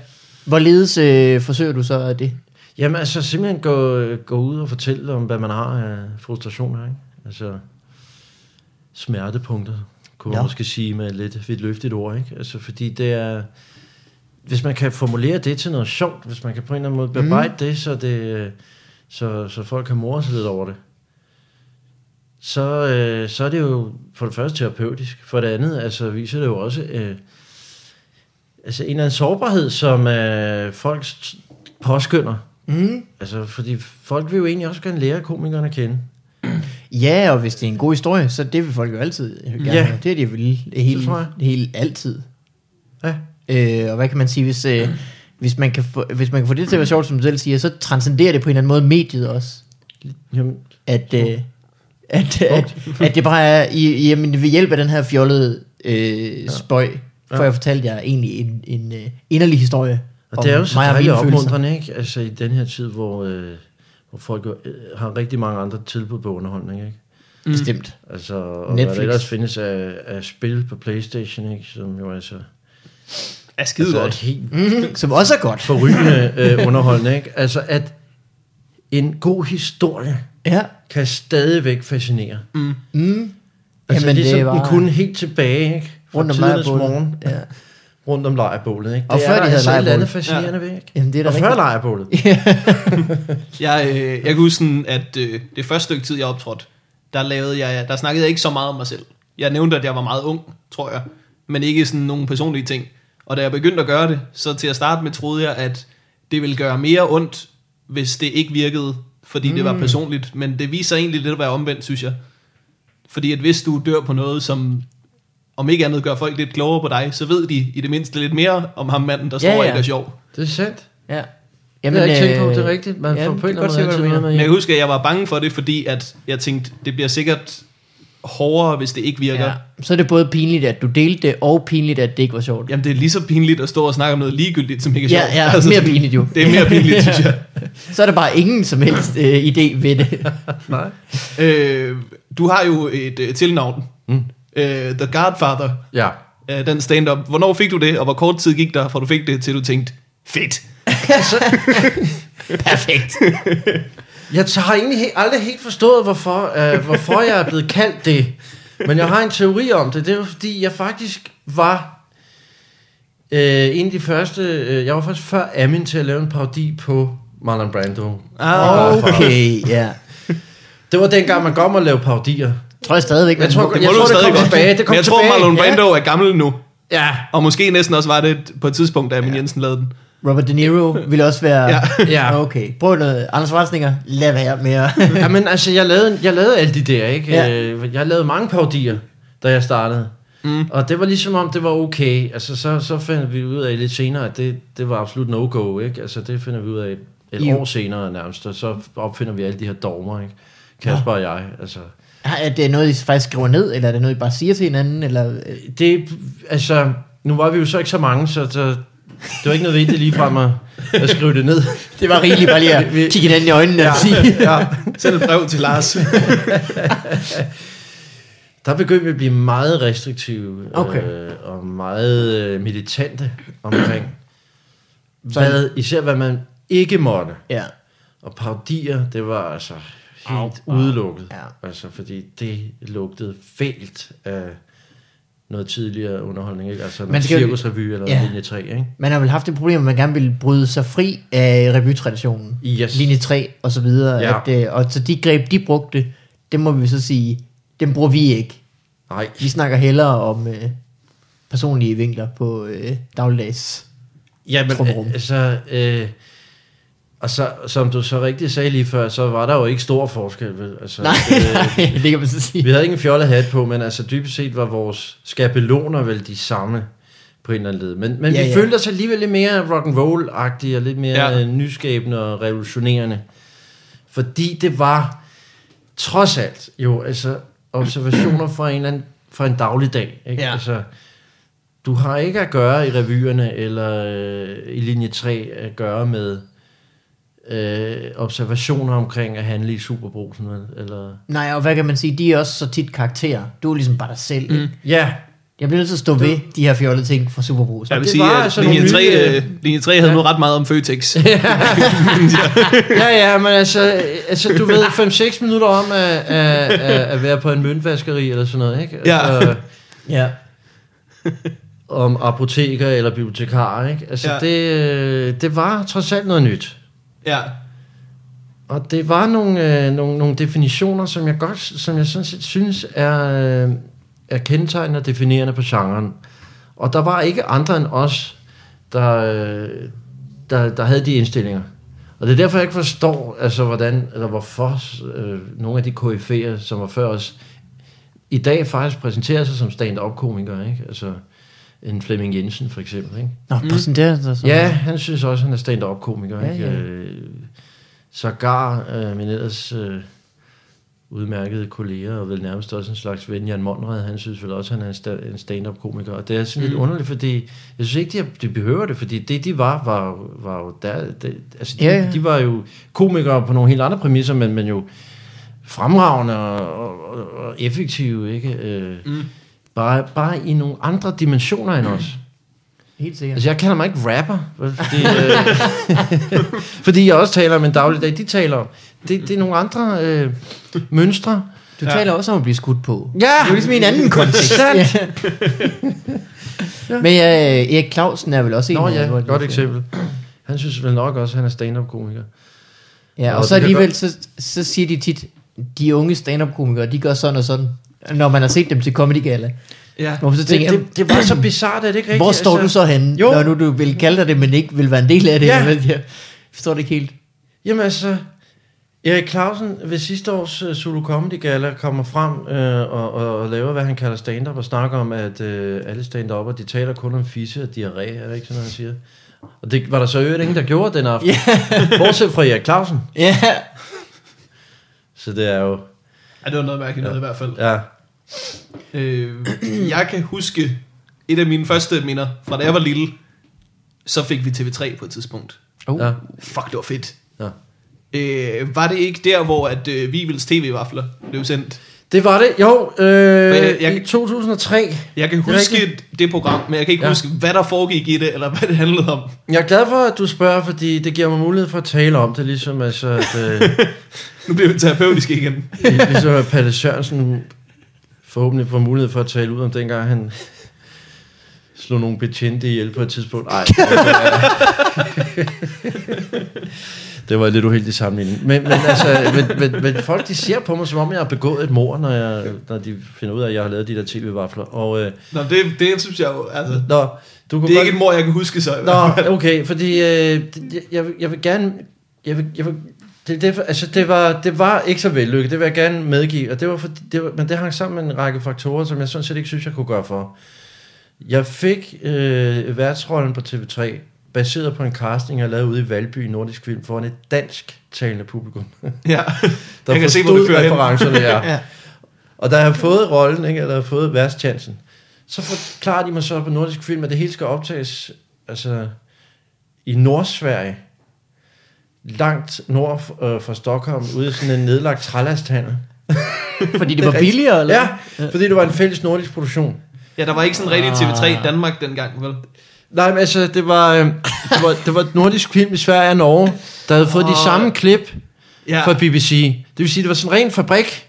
Hvorledes øh, forsøger du så det? Jamen altså simpelthen gå, gå ud og fortælle om, hvad man har af frustrationer, ikke? Altså smertepunkter, kunne man Ja. måske sige med lidt vidt løftigt ord, ikke? Altså fordi det er... Hvis man kan formulere det til noget sjovt, hvis man kan på en eller anden måde bebrejde mm. det, så det... øh, Så, så folk kan more sig lidt over det. Så, øh, så er det jo for det første terapeutisk. For det andet, altså viser det jo også... Øh, altså en eller anden sårbarhed, som øh, folk st- påskynder. Mm. Altså, fordi folk vil jo egentlig også gerne lære komikerne at kende. Ja, og hvis det er en god historie, så det vil folk jo altid gerne Ja. ja. Det er de vil hele, Det tror jeg. hele altid. Ja. Øh, og hvad kan man sige, hvis, øh, hvis, man kan få, hvis man kan få det til at være sjovt, som du selv siger, så transcenderer det på en eller anden måde mediet også. Jamen, At, øh, at, at, at det bare er, i- jamen ved hjælp af den her fjollede øh, spøj, får jeg fortalt jer egentlig en, en øh, inderlig historie. og det er jo så mig og dejligt mine følelser. opmuntrende, ikke? Altså, i den her tid, hvor, øh, hvor folk jo, øh, har rigtig mange andre tilbud på underholdning, ikke? Bestemt. Altså, og Netflix. hvad Netflix. der ellers findes af, af spil på Playstation, ikke? Som jo altså... Er skide altså, godt. et helt Mm, som også er godt. forrygende øh, underholdning, ikke? Altså, at en god historie Ja. kan stadigvæk fascinere. Mm. Altså, Jamen, det er som bare- den kunne helt tilbage, ikke? Fra Rundt om tidernes lejrbålet. morgen. Ja. rundt om lejrbålet, ikke? Og Det før er de der havde altså et eller lejrbålet. andet fascinerende ved, ikke? Jamen, det er da og rigtigt. før lejrbålet. Jeg, øh, jeg kan huske sådan, at øh, det første stykke tid, jeg optrådte, der, lavede jeg, der snakkede jeg ikke så meget om mig selv. Jeg nævnte, at jeg var meget ung, tror jeg, men ikke sådan nogle personlige ting. Og da jeg begyndte at gøre det, så til at starte med troede jeg, at det ville gøre mere ondt, hvis det ikke virkede, fordi mm. det var personligt. Men det viser egentlig lidt at være omvendt, synes jeg. Fordi at hvis du dør på noget, som om ikke andet gør folk lidt klogere på dig, så ved de i det mindste lidt mere om ham manden, der Ja, står ja. og ikke er sjov. Det er sandt. Ja. øh, Jamen, det har jeg ikke tænkt på, det er rigtigt. Man får på en eller anden måde altid noget med Men jeg hjem. kan huske, at jeg var bange for det, fordi at jeg tænkte, det bliver sikkert hårdere, hvis det ikke virker. Ja. Ja. Så er det både pinligt, at du delte det, og pinligt, at det ikke var sjovt. Jamen, det er lige så pinligt at stå og snakke om noget ligegyldigt, som ikke er Ja, sjovt. ja, mere sådan- pinligt jo. Altså, Det er mere pinligt, synes jeg. Så er der bare ingen som helst øh, idé ved det. Nej. Øh, du har jo et øh, tilnavn. Mm. Øh, The Godfather, Ja. øh, den stand-up. Hvornår fik du det, og hvor kort tid gik der, fra du fik det, til du tænkte, fedt. Perfekt. Jeg t- har egentlig he- aldrig helt forstået, hvorfor, øh, hvorfor jeg er blevet kaldt det. Men jeg har en teori om det. Det er jo fordi, jeg faktisk var øh, en af de første... Øh, jeg var faktisk før Amin til at lave en parodi på Marlon Brando. Ah, Okay, ja. Det var dengang, man godt måtte lave parodier. Tror jeg stadigvæk, man Jeg tror, brugte jeg må det. du tror, det stadig kom godt. tilbage. Det kom Men jeg tror, tilbage, Marlon ja. Brando er gammel nu. Ja, Og måske næsten også var det på et tidspunkt, da Amin Jensen lavede den. Robert De Niro ville også være... Ja. Ja. Okay, prøv noget. Anders Schwarzenegger, lad være med at... ja, men altså, jeg lavede, jeg lavede alle de der, ikke? Ja. Ja. Jeg lavede mange parodier, da jeg startede. Mm. Og det var ligesom om, det var okay. Altså, så, så fandt vi ud af lidt senere, at det, det var absolut no-go, ikke? Altså, det finder vi ud af et Jo. år senere nærmest, og så opfinder vi alle de her dogmer, ikke? Kasper og jeg, altså... Er det noget, I faktisk skriver ned, eller er det noget, I bare siger til hinanden? Eller... Det, altså, nu var vi jo så ikke så mange, så, så det var ikke nødvendigt ligefrem at, at skrive det ned. Det var rigeligt bare lige at kigge hinanden i øjnene ja. og sige... ja. Send et brev til Lars. Der begyndte vi at blive meget restriktive Okay. øh, og meget øh, militante omkring, hvad, især hvad man ikke måtte. Ja. Og parodier, det var altså helt au, udelukket. Ja. Altså, fordi det lugtede fælt af noget tidligere underholdning, ikke? Altså man Man skal skal jo- cirkusrevy eller Ja. ja. linje 3, ikke? Man har vel haft et problem, at man gerne ville bryde sig fri af revytraditionen. Yes. Linje 3 og så videre. Ja. Ja. At, øh, og så de greb, de brugte, det må vi så sige, dem bruger vi ikke. Nej. Vi snakker hellere om øh, personlige vinkler på øh, dagligdags. Ja, men Trumrum. øh, altså... Øh, og så, som du så rigtig sagde lige før, så var der jo ikke stor forskel, vel? Altså, Nej, øh, nej, det kan man så sige. Vi havde ikke en fjollet hat på, men altså dybest set var vores skabeloner vel de samme på en eller anden led. Men, men Ja, ja, vi ja. ja. følte os alligevel lidt mere rock'n'roll-agtige og lidt mere Ja. ja. nyskabende og revolutionerende. Fordi det var trods alt jo altså observationer fra en, eller anden, fra en dagligdag. Ikke? Ja. Altså, du har ikke at gøre i revyerne eller øh, i linje 3 at gøre med øh, observationer omkring at handle i superbrusen. vel? Eller, Nej, og hvad kan man sige, de er også så tit karakterer. Du er ligesom bare dig selv. Mm. ja, Jeg bliver nødt til at stå ved de her fjollede ting fra Superbrus. Jeg vil det sige, var at altså linje nogle 3, nye, øh, linje 3 havde noget ret meget om Føtex. Ja, ja, men altså, altså du ved, 5-6 minutter om at, at, at, at være på en møntvaskeri eller sådan noget, ikke? Ja. Altså, Ja. om apoteker eller bibliotekarer, ikke? Altså, Ja. ja. det, øh, det var trods alt noget nyt. ja. Og det var nogle, øh, nogle, nogle definitioner, som jeg godt, som jeg sådan set synes er, øh, er kendetegnende og definerende på genren. Og der var ikke andre end os, der, øh, der, der havde de indstillinger. Og det er derfor, jeg ikke forstår, altså, hvordan, eller hvorfor øh, nogle af de KF'er, som var før os, i dag faktisk præsenterer sig som stand-up-komikere, ikke? Altså, en Flemming Jensen for eksempel, ikke? Nå, præsenterer sig som... Ja, han synes også, han er stand-up-komiker. Ja, Ja, ja. ja. øh, sågar øh, min ellers øh, udmærkede kolleger, og vel nærmest også en slags ven, Jan Monrad, han synes vel også, han er en sta- en stand-up-komiker. Og det er sådan mm. lidt underligt, fordi jeg synes ikke, de, har- de behøver det, fordi det, de var, var, jo- var jo der... Det, altså, de, Ja, ja. de var jo komikere på nogle helt andre præmisser, men, men jo fremragende og, og, og effektive, ikke? Øh, mm. bare, bare i nogle andre dimensioner end os. Helt sikkert. Altså, jeg kalder mig ikke rapper, vel, fordi, øh, fordi jeg også taler om en dagligdag, de taler om. Det, det er nogle andre øh, mønstre. Du ja. taler også om at blive skudt på. Ja! Det er jo ligesom i en anden kontekst. ja. Men øh, Erik Clausen er vel også en... Nå af- hvor ja, de- godt eksempel. Han synes vel nok også, at han er stand-up-komiker. Ja, og Og så det kan alligevel, godt- så, så siger de tit, de unge stand-up-komikere, de gør sådan og sådan, når man har set dem til Comedy Gala. ja. Hvor man så Det, tænker, det, det var så bizarrt, er det ikke rigtigt? Altså- hvor står du så henne, Jo. når nu du vil kalde dig det, men ikke vil være en del af det? Ja. Ja. Jeg forstår det ikke helt. Jamen altså, Erik Clausen ved sidste års uh, Zulu Comedy Gala kommer frem øh, og, og, og laver, hvad han kalder stand-up, og snakker om, at øh, alle stand-upper, de taler kun om fisse og diarré, er det ikke sådan, han siger? Og det var der så i øvrigt ingen, der gjorde den aften. Yeah. Bortset fra Erik Clausen. Ja, Så det er jo... ja, det var noget mærkeligt noget i hvert fald. Ja. Øh, jeg kan huske et af mine første minder fra da jeg var lille. Så fik vi TV3 på et tidspunkt. Uh. ja. Fuck, det var fedt. ja. Øh, var det ikke der, hvor at øh, Vivels TV-vafler blev sendt? Det var det. Jo, øh, jeg- i 2003. Jeg kan Det er huske det, det program, men jeg kan ikke ja. Ja. huske, hvad der foregik i det, eller hvad det handlede om. Jeg er glad for, at du spørger, fordi det giver mig mulighed for at tale om det, ligesom altså... At, øh, Nu bliver vi terapeutiske igen. ligesom at Palle Sørensen forhåbentlig får mulighed for at tale ud om dengang han slog nogle betjente ihjel på et tidspunkt. Nej. det var lidt uheldig sammenligning. Men, men, altså, men, men, men, folk de ser på mig, som om jeg har begået et mor, når, jeg, når de finder ud af, at jeg har lavet de der tv-vafler. Og, øh, Nå, det, det synes jeg jo, altså... nå, du kunne Det er godt- ikke et mor, jeg kan huske så. i hvert fald. Nå, okay, fordi øh, det- jeg, jeg, vil- jeg vil gerne... Jeg vil, jeg vil, det, det, altså, det, var, det var ikke så vellykket, det vil jeg gerne medgive, og det var for, det var, men det hang sammen med en række faktorer, som jeg sådan set ikke synes, jeg kunne gøre for. Jeg fik øh, værtsrollen på TV3, baseret på en casting, jeg lavede ude i Valby i Nordisk Film, foran et dansk-talende publikum. Ja. Der Jeg kan se, hvor forstod det fører hen. referencerne, ja. Ja. ja. Og da jeg har fået rollen, ikke, eller jeg har fået værtschancen, så forklarer de mig så på nordisk film, at det hele skal optages altså, i Nordsverige. Langt nord for, øh, for Stockholm, ude i sådan en nedlagt trælasthandel. fordi det Det er var rigtigt. billigere, eller? Ja, fordi det var en fælles nordisk produktion. ja, der var ikke sådan rigtig TV3 Danmark dengang, vel? Nej, men altså, det var, øh, det var, det var et nordisk film i Sverige og Norge, der havde fået oh. de samme klip Ja. for BBC. Det vil sige, det var sådan en ren fabrik.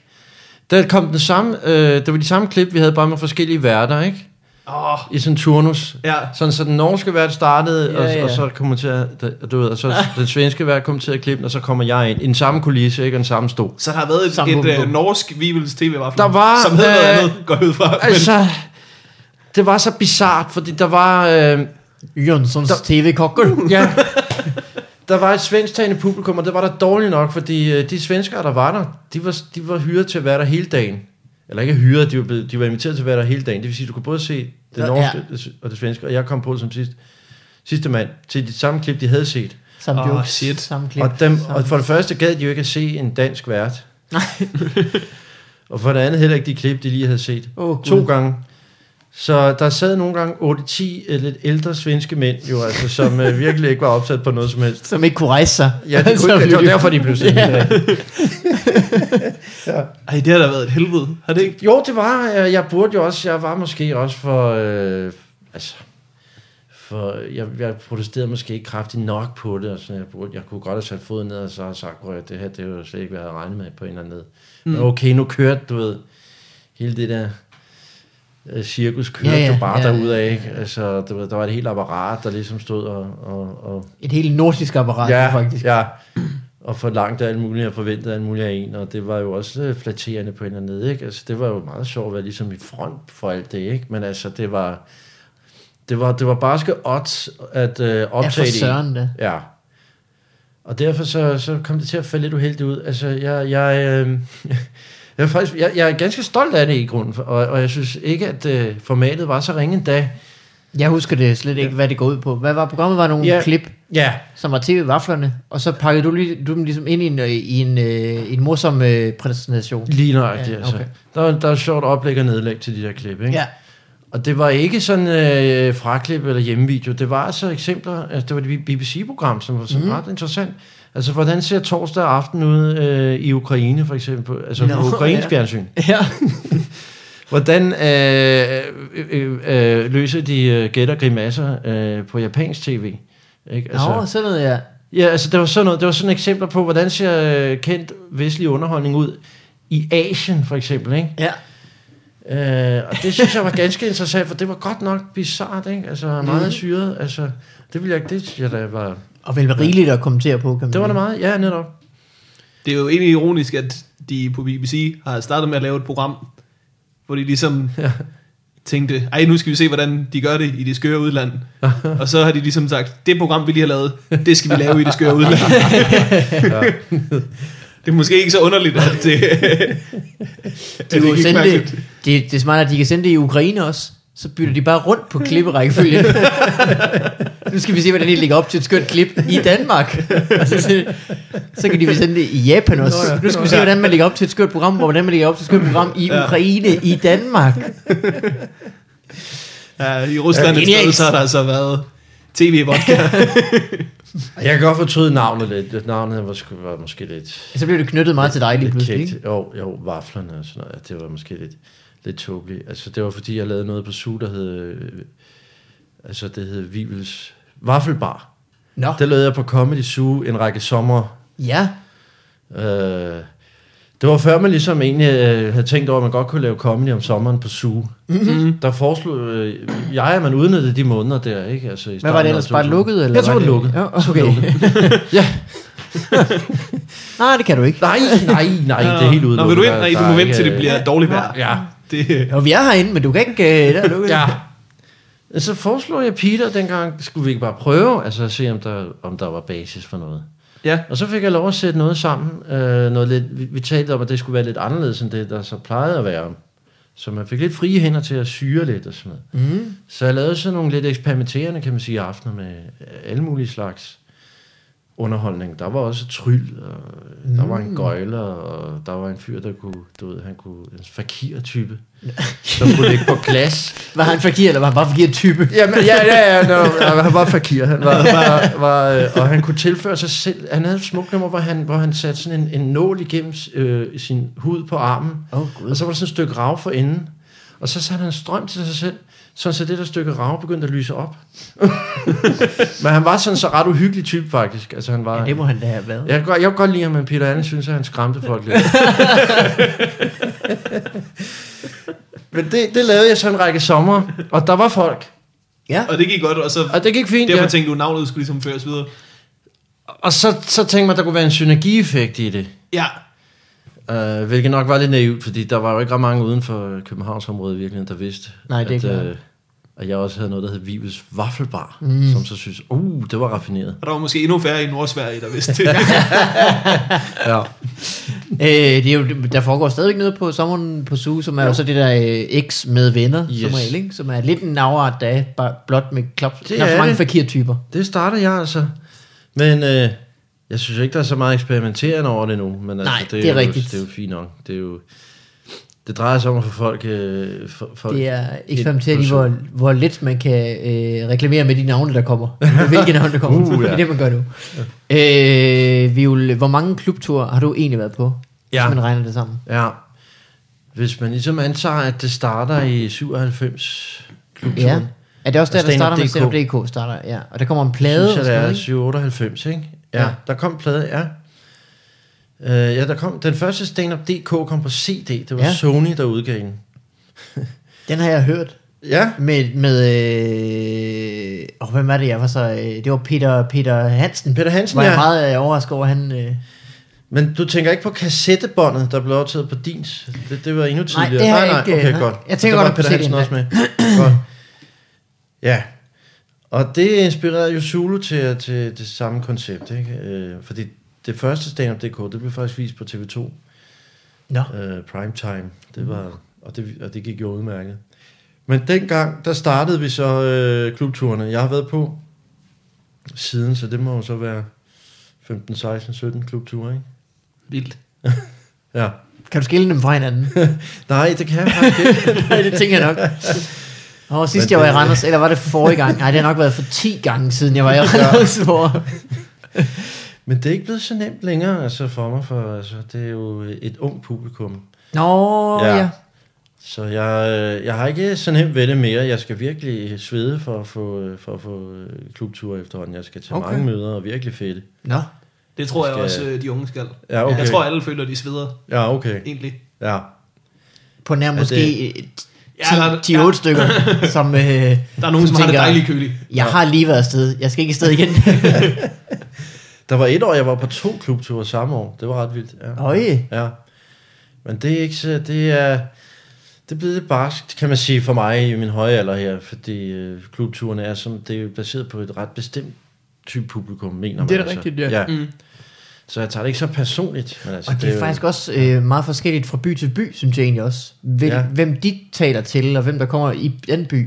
Der kom den samme, øh, det var de samme klip, vi havde bare med forskellige værter, ikke? Åh, I sådan en turnus. ja. Sådan, så den norske vært startede, ja, og, Ja, ja. og så kommenterede, du ved, og så den svenske vært kommenterede klippen, og så kommer jeg ind. I den samme kulisse, ikke? Og den samme stol. Så der har været Samme et, et publikum. øh, norsk Vibels tv -vafler, Der var, Som hed noget øh, andet, går jeg ud fra. Altså, Altså, det var så bizart, fordi der var... Øh, Jønssons Der- tv-kokker. Ja. Der var et svensktalende publikum, og det var der dårligt nok, fordi øh, de svenskere, der var der, de var, de var hyret til at være der hele dagen. Eller ikke hyret, de var, blevet, de var inviteret til at være der hele dagen. Det vil sige, du kunne både se Ja. det norske og det svenske, og jeg kom på som sidst, sidste mand til de samme klip, de havde set. Samme Åh, jokes, shit. samme klip. Og, dem, samme- og for det første gad de jo ikke at se en dansk vært. og for det andet heller ikke de klip, de lige havde set. Åh, Gud. to gange. Så der sad nogle gange 8-10 øh, lidt ældre svenske mænd, jo, altså, som øh, virkelig ikke var opsat på noget som helst. Som ikke kunne rejse sig. Ja, det, kunne, Så ikke- det var vi- derfor, de blev sendt. Ja. Ja. Ej, det har da været et helvede, har det ikke? Jo, det var, øh, jeg burde jo også, jeg var måske også for, øh, altså, for jeg, jeg protesterede måske ikke kraftigt nok på det, og sådan, jeg, burde, jeg kunne godt have sat foden ned og så have sagt, at det her, det var slet ikke, hvad jeg havde regnet med på en eller anden led. Mm. Men okay, nu kørte, du ved, hele det der øh, cirkus kørte Ja, ja, ja, jo bare ja, ja, ja, derudad, ikke? Altså, du ved, der var et helt apparat, der ligesom stod og, og, og Et helt nordisk apparat, ja, faktisk. Ja, og forlangt af alt muligt, og forventet af alt muligt af en, og det var jo også øh, flatterende på en eller anden led, ikke? Altså, det var jo meget sjovt at være ligesom i front for alt det, ikke? Men altså, det var, det var, det var barske odds at øh, Ja, for optage det i. søren da. Ja. Og derfor så, så kom det til at falde lidt uheldigt ud. Altså, jeg, jeg, øh, jeg, er faktisk, jeg, jeg er ganske stolt af det i grunden, for- og, og jeg synes ikke, at øh, formatet var så ringe endda. Jeg husker det slet ikke, hvad det går ud på. Hvad var programmet? Var nogle Ja. klip, Ja, som var tv-vaflerne, og så pakkede du, lige, du dem ligesom ind i en, øh, i en, øh, en morsom øh, præsentation. lige nøjagtigt. Ja, Ja, okay. okay. altså. der, var- der er sjovt oplæg og nedlæg til de der klip, ikke? Ja. Og det var ikke sådan øh, fraklip eller hjemmevideo. Det var altså eksempler, altså det var det BBC-program, som var sådan Mhm. mm. ret interessant. Altså, hvordan ser torsdag aften ud øh, i Ukraine, for eksempel? Altså, Nå, no, ukrainsk ja. ja. fjernsyn. ja. Hvordan øh, øh, øh, øh, løser de øh, gæt og grimasser øh, på japansk tv? Ikke? Altså, Nå, sådan noget, ja. Ja, altså det var sådan noget, det var sådan eksempler på, hvordan ser øh, kendt vestlig underholdning ud i Asien for eksempel, ikke? Ja. Øh, og det synes jeg var ganske interessant, for det var godt nok bizart, ikke? Altså meget mm. syret, altså det ville jeg ikke, det synes jeg da var, Og vel rigeligt at kommentere på, kan man det var da sige. meget, ja netop. Det er jo egentlig ironisk, at de på BBC har startet med at lave et program, hvor de ligesom ja. tænkte, ej, nu skal vi se, hvordan de gør det i det skøre udland. og så har de ligesom sagt, det program, vi lige har lavet, det skal vi lave i det skøre udland. det er måske ikke så underligt, at det, at de det kunne gik sende mærkeligt. det, det, det er smart, at de kan sende det i Ukraine også. Så bytter de bare rundt på klipperækkefølgen. nu skal vi se, hvordan de ligger op til et skønt klip i Danmark. Og så, se- så kan de vel sende det i Japan også. Nu skal vi se, hvordan man ligger op til et skønt program, og hvordan man ligger op til et skønt program i Ukraine, i Danmark. Ja, I Rusland Ja, et genialt. sted, så har der altså været tv-vodka. Og jeg kan godt fortryde navnet lidt, navnet var, sgu- var måske lidt, Så bliver det knyttet meget til dig lige lidt pludselig. Ikke? kægt. Jo, jo, vaflerne og sådan noget, ja, det var måske lidt, lidt tåbeligt. Altså det var fordi, jeg lavede noget på SU, der hed, øh, altså det hed Vivels Vaffelbar. Nå, Der lavede jeg på Comedy Zoo en række sommer. ja. Øh, det var før man ligesom egentlig øh, havde tænkt over, at man godt kunne lave comedy om sommeren på Zoo. Mm-hmm. Der foreslog øh, jeg, at man udnyttede de måneder der, ikke? Altså, i Hvad var starten af det ellers? Bare 2000. lukket? Eller Jeg tror, var det var lukket. Ja, okay. Ja. Nej, det kan du ikke. Nej, nej, nej, det er helt udelukket. Nå, vil du ind? Der- Nej, der du er må vente, ikke, til det øh, bliver dårligt vejr. Ja. Det, Jo, vi er herinde, men du kan ikke... Øh, der er lukket. Ja. Så foreslog Altså, jeg Peter dengang, skulle vi ikke bare prøve, altså at se, om der, om der var basis for noget. ja. Og så fik jeg lov at sætte noget sammen. Øh, noget lidt, vi, vi talte om, at det skulle være lidt anderledes, end det, der så plejede at være. Så man fik lidt frie hænder til at syre lidt og sådan noget. Mm. Så jeg lavede sådan nogle lidt eksperimenterende, kan man sige, aftener med alle mulige slags underholdning. Der var også tryl, og der var en gøjler, og der var en fyr, der kunne, du ved, han kunne, en fakir-type, som kunne ligge på glas. Var han fakir, eller var han bare fakir type? Jamen, ja, ja, ja, no, han var fakir, han var, var, var, øh, og han kunne tilføre sig selv, han havde et smukt nummer, hvor han, hvor han satte sådan en, en nål igennem øh, sin hud på armen, Åh, oh, gud. og så var der sådan et stykke rav for enden, og så satte han strøm til sig selv, sådan så det der stykke rav begyndte at lyse op. Men han var sådan så ret uhyggelig type faktisk, altså han var... Ja, det må han da have været. Jeg kan, godt, jeg kan godt lide ham, men Peter Allen synes, at han skræmte folk lidt. men det, det lavede jeg så en række sommer, og der var folk. Ja. Og det gik godt, og så Og det gik fint, derfor ja. tænkte du, navnet skulle ligesom føres videre. Og så, så tænkte man, at der kunne være en synergieffekt i det. Ja, Uh, hvilket nok var lidt naivt, fordi der var jo ikke ret mange uden for Københavnsområdet virkelig, der vidste, Nej, det er at, klart. øh, at jeg også havde noget, der hed Vives Vaffelbar, mm. som så synes, uh, det var raffineret. og der var måske endnu færre i Nordsverige, der vidste det. Ja. Øh, det er jo, der foregår stadigvæk noget på sommeren på SU, som er jo så det der øh, X med venner, yes. som Yes. regel, ikke? som er lidt en afart, der er bare blot med klap, Det knap så er mange det. fakir-typer. Det startede jeg altså. Men øh, jeg synes ikke, der er så meget eksperimenterende over det nu. Men Nej, altså, det er jo, rigtigt. Det er jo fint nok. Det er jo... Det drejer sig om at få folk... Øh, for, folk Det er ind eksperimenteret på i, sø- hvor, hvor lidt man kan øh, reklamere med de navne, der kommer. Med Hvilke navne, der kommer. Uh, Uh, ja. ja. Det er det, man gør nu. Øh, Viol, hvor mange klubture har du egentlig været på? Ja. Ja. Hvis man regner det sammen. Ja. Hvis man ligesom antager, at det starter i 97 klubturen, Ja. Er det også der, Og der starter med stand-up Stand DK? Starter, ja. Og der kommer en plade. synes jeg, og det sådan er noget, ikke? 798, ikke? Ja, ja. Ja. der kom plade, ja. Øh, ja, der kom, den første Stand Up DK kom på CD, det var ja. Ja. Sony, der udgav den. Den har jeg hørt. Ja, Med, med øh, åh, hvem er det, jeg var så, øh, det var Peter, Peter Hansen. Peter Hansen, var jeg ja. meget øh, overrasket over, han, øh, men du tænker ikke på kassettebåndet, der blev optaget på din? Det, det var endnu Nej, tidligere. det har jeg ikke, øh, okay, nej. godt. Jeg tænker der godt var nok på Peter Hansen også med. godt. Ja, og det inspirerede jo Zulu til, til det samme koncept, ikke? Øh, fordi det første Stand Up DK, det blev faktisk vist på TV2. nå, øh, primetime. Det var, og, det, og det gik jo udmærket. Men dengang, der startede vi så øh, klubturene. Jeg har været på siden, så det må jo så være 15, 16, 17 klubture, ikke? Vildt. Ja. kan du skille dem fra hinanden? Nej, det kan jeg faktisk ikke. Nej, det tænker jeg nok. Og sidst Men jeg var i det- Randers, eller var det forrige gang? Nej, det har nok været for 10 gange siden, jeg var i Randers, hvor... Men det er ikke blevet så nemt længere altså for mig, for altså, det er jo et ung publikum. Nå, Ja. ja. ja. Så jeg, øh, jeg har ikke så nemt ved det mere. Jeg skal virkelig svede for at få, øh, for at få øh, klubture efterhånden. Jeg skal tage okay. Okay. mange møder og virkelig fedt. Nå. Det tror jeg Skal- også, øh, de unge skal. Ja, okay. Jeg tror, alle føler, de sveder, Ja, okay. egentlig. Ja. På nær det- måske Ja, der- 10-8 ja, ja. stykker, som... Øh, Der er nogen, som, som har det dejligt køligt. Jeg har lige været afsted. Jeg skal ikke afsted igen. Der var et år, jeg var på to klubture samme år. Det var ret vildt. Ja. Øj. ja. Men det er ikke så, det er, det er blevet lidt barskt, kan man sige, for mig i min høje alder her, fordi øh, klubturene er som, det er jo baseret på et ret bestemt type publikum, mener man. Det er da altså. rigtigt, ja. ja. Mm. Så jeg tager det ikke så personligt. Men altså, Og det er jo- faktisk også øh, meget forskelligt fra by til by, synes jeg egentlig også. Hvem, Ja. ja. hvem de taler til, og hvem der kommer i den by. Ja.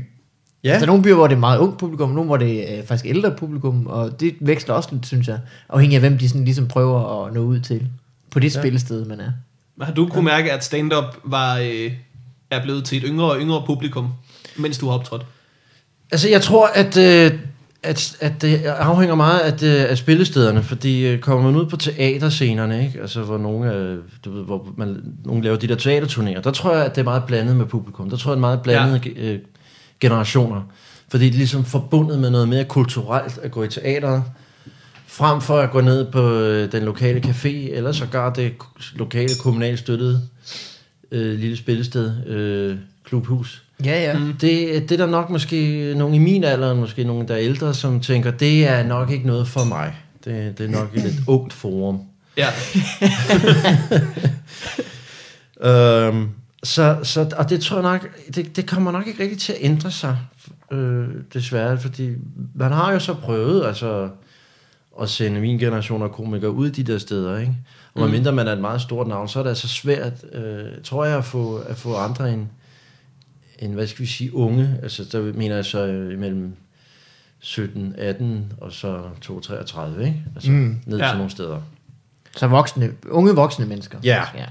Ja, Altså, der er nogle byer, hvor det er meget ung publikum, nogle hvor det er øh, faktisk ældre publikum, og det veksler også lidt, synes jeg, afhængig af, hvem de sådan ligesom prøver at nå ud til på det Ja. ja. spillested, man er. Har du kunne mærke, at stand-up var, øh, er blevet til et yngre og yngre publikum, mens du har optrådt? Altså, jeg tror, at, øh, at, at det afhænger meget af, det, af spillestederne, fordi øh, kommer man ud på teaterscenerne, ikke? Altså, hvor, nogle, øh, du ved, hvor man, nogle laver de der teaterturnéer, der tror jeg, at det er meget blandet med publikum. Der tror jeg, at det er meget blandet ja. øh, generationer, fordi det er ligesom forbundet med noget mere kulturelt at gå i teateret, frem for at gå ned på øh, den lokale café, eller sågar det k- lokale kommunalt støttede øh, lille spillested, øh, klubhus. Ja, ja. Mm. Det, det er der nok måske nogen i min alder, og måske nogen der er ældre, som tænker, det er nok ikke noget for mig. Det, det er nok et lidt ungt forum. Ja, Øhm, så, så, og det tror jeg nok, det, det kommer nok ikke rigtig til at ændre sig, øh, desværre, fordi man har jo så prøvet altså, at sende min generation af komikere ud de der steder, ikke? Og mm. mindre man er et meget stort navn, så er det altså svært, øh, tror jeg, at få, at få andre end, end, hvad skal vi sige, unge, altså der mener jeg så øh, imellem 17, 18 og så 2, 33, ikke? Altså mm. Mm. ned ja. Ja. til nogle steder. Så voksne, unge voksne mennesker. Ja. ja.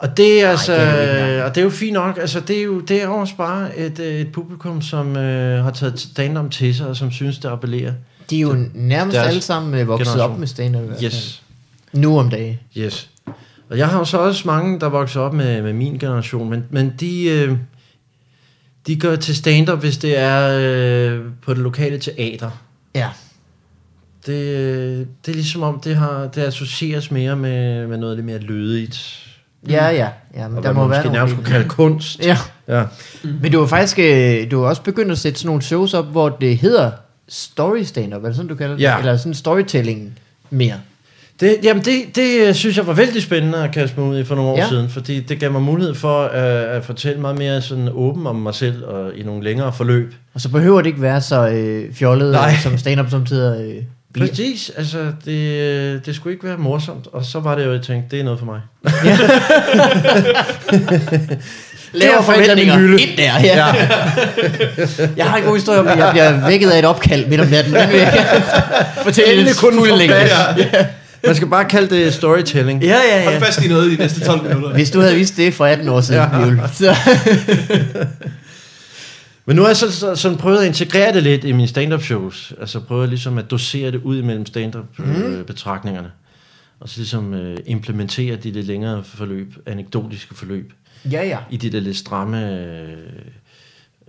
Og det er altså, det er jo ikke det engang. er og det er jo fint nok, altså det er jo det er jo også bare et, øh, et publikum, som øh, har taget stand-up til sig, og som synes, det appellerer. De er jo nærmest Deres alle sammen øh, vokset generation. op med stand-up. i hvert fald. Yes, Nu om dagen. yes. Og jeg har jo så også mange, der vokser op med, med min generation, men, men de, øh, de går til stand-up, hvis det er øh, på det lokale teater. Ja. Det, øh, det er ligesom om, det, har, det associeres mere med, med noget lidt mere lødigt. Ja, ja. ja men Og der hvad må man være måske nogle nærmest kunne kalde kunst. Ja. Ja. Mm-hmm. Men du har faktisk øh, du har også begyndt at sætte sådan nogle shows op, hvor det hedder story stand-up, er det sådan, du kalder det? Ja. Eller sådan storytelling mere. Det, jamen det, det øh, synes jeg var vældig spændende at kaste mig ud i for nogle år ja. Ja. siden, fordi det gav mig mulighed for øh, at fortælle meget mere sådan åben om mig selv og i nogle længere forløb. Og så behøver det ikke være så øh, fjollet, Nej. Nej. som stand-up samtidig øh, bliver. Præcis, altså det, øh, det skulle ikke være morsomt, og så var det jo, jeg tænkte, det er noget for mig. Lavere forventninger. Et der, ja. ja. jeg har en god historie om, at jeg bliver vækket af et opkald midt om natten. Den vil jeg gerne fortælle i dets fulde længde. Ja. Man skal bare kalde det storytelling. Ja, ja, Hold ja. fast i noget i de næste 12 minutter. Hvis du havde vidst det for 18 år siden, Ja. ja. så Men nu har jeg så, så, sådan prøvet at integrere det lidt i mine stand-up shows. Altså prøvet ligesom at dosere det ud imellem stand-up øh, betragtningerne. Og så ligesom øh, implementere de lidt længere forløb, anekdotiske forløb, ja, ja. i de der lidt stramme øh,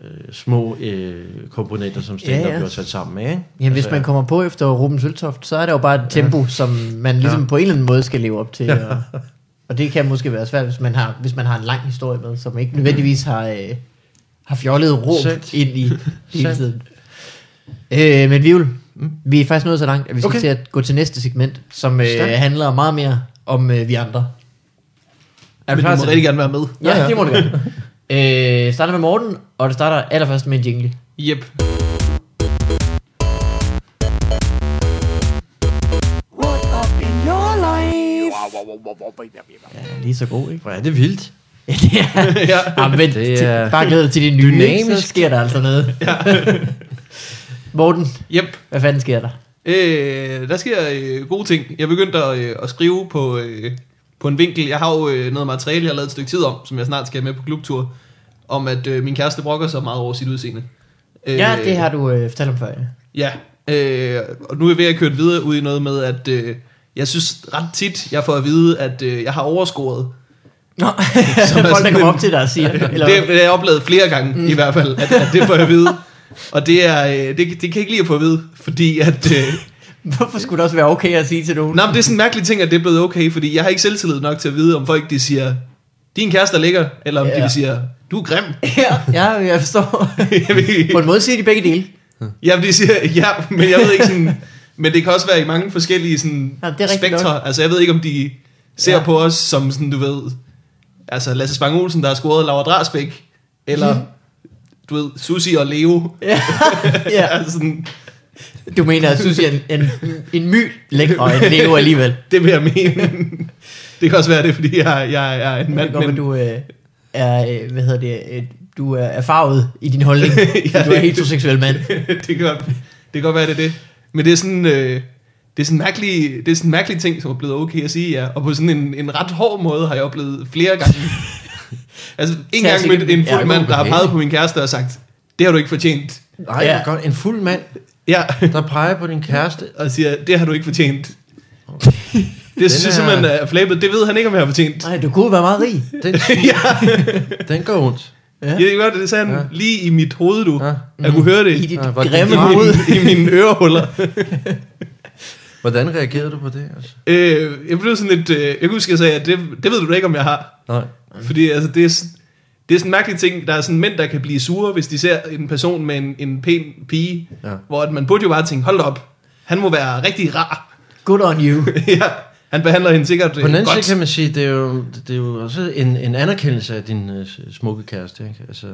øh, små øh, komponenter, som stand-up Ja, ja, ja. ja. sat sammen med. Ikke? Altså, Jamen, hvis man kommer på efter Ruben Søltoft, så er der jo bare et tempo, Altså, ja. som man ligesom ja. på en eller anden måde skal leve op til. Ja. Og, og det kan måske være svært, hvis man har, hvis man har en lang historie med, som ikke nødvendigvis har, øh, har fjollet råb Sandt. ind i hele Sandt. tiden. Øh, men Vivl, vi er faktisk nået så langt, at vi skal okay. Okay. til at gå til næste segment, som øh, Stærkt. handler meget mere om øh, vi andre. Er Men du må til rigtig gerne være med. det? Ja, ja, det må du gerne. Øh, det starter med Morten, og det starter allerførst med en jingle. Yep. What up in your life? Ja, lige så god, ikke? Hvor er det vildt. Ja, det er, ja. ja, Ah, men Det det er er bare glæder dig til de nye, Dynamisk. så dynamisk. sker der altså noget. Ja. Morten, Yep. hvad fanden sker der? Øh, der sker øh, gode ting. Jeg begyndte at, øh, at skrive på, øh, på en vinkel. Jeg har jo øh, noget materiale, jeg har lavet et stykke tid om, som jeg snart skal have med på klubtur, om at øh, min kæreste brokker sig meget over sit udseende. Øh, Ja, det har du øh, fortalt om før. Ja. Ja, øh, og nu er jeg ved at køre det videre ud i noget med, at øh, jeg synes ret tit, jeg får at vide, at øh, jeg har overskåret. Nå, Som er folk der sådan kommer en- op til dig og siger, eller Det, det har jeg oplevet flere gange mm. i hvert fald, at, at det får jeg at vide. Og det, er, øh, det, det kan jeg ikke lide at få at vide, fordi at... Øh, hvorfor skulle det også være okay at sige til nogen? Nej, men det er sådan en mærkelig ting, at det er blevet okay, fordi jeg har ikke selvtillid nok til at vide, om folk de siger, din kæreste er lækker, eller om Ja. yeah. de siger, du er grim. Ja, ja, jeg forstår. Jeg ved- På en måde siger de begge dele. ja, men de siger, ja, men jeg ved ikke sådan, men det kan også være i mange forskellige sådan, Ja, det er rigtigt spektre. Altså, jeg ved ikke, om de ser Ja. ja. på os som sådan, du ved, altså Lasse Spang Olsen, der har scoret Laura Drasbæk, eller du ved, Susi og Leo. Mhm. Ja, ja. Altså, sådan, Du mener, at Susie er en, en, en my lækre og en leo alligevel. det vil jeg mene. det kan også være det, er, fordi jeg, jeg er en Men, mand, det men men du øh, er, øh, hvad hedder det, øh, du er erfaret i din holdning, ja, Ja, du er det- heteroseksuel mand. det, kan, godt- det kan godt være, det er det. Men det er sådan... Øh, det er, sådan en mærkelig, det er sådan en mærkelig ting, som er blevet okay at sige, ja. Og på sådan en, en ret hård måde har jeg oplevet flere gange. altså, en Tag os gang med igennem. en fuld Ja, mand, der har okay. peget på min kæreste og sagt, det har du ikke fortjent. Nej, Ja. ja. godt. En fuld mand, Ja, der peger på din kæreste. og siger, det har du ikke fortjent. Den Det synes jeg er- simpelthen er flabet. Det ved han ikke, om jeg har fortjent. Nej, du kunne være meget rig. Den, den går ondt. Ja. Mhm. Jeg ved godt, det sagde han Ja. lige i mit hoved, du. Ja. Jeg kunne høre det I i, dit Ja, hvor grimme genialt. hoved. min, i mine ørehuller. Hvordan reagerede du på det? Altså? Øh, jeg blev sådan lidt... Øh, jeg kunne huske, jeg sagde, at det, det ved du da ikke, om jeg har. Nej. Fordi altså, det, er, s- det er sådan en mærkelig ting. Der er sådan mænd, der kan blive sure, hvis de ser en person med en, en pæn pige. Ja. Hvor at man burde jo bare tænke, hold da op, han må være rigtig rar. Good on you. ja, han behandler hende sikkert På den øh, anden side godt. kan man sige, det er jo, det er jo også en, en anerkendelse af din øh, smukke kæreste. Ikke? Altså,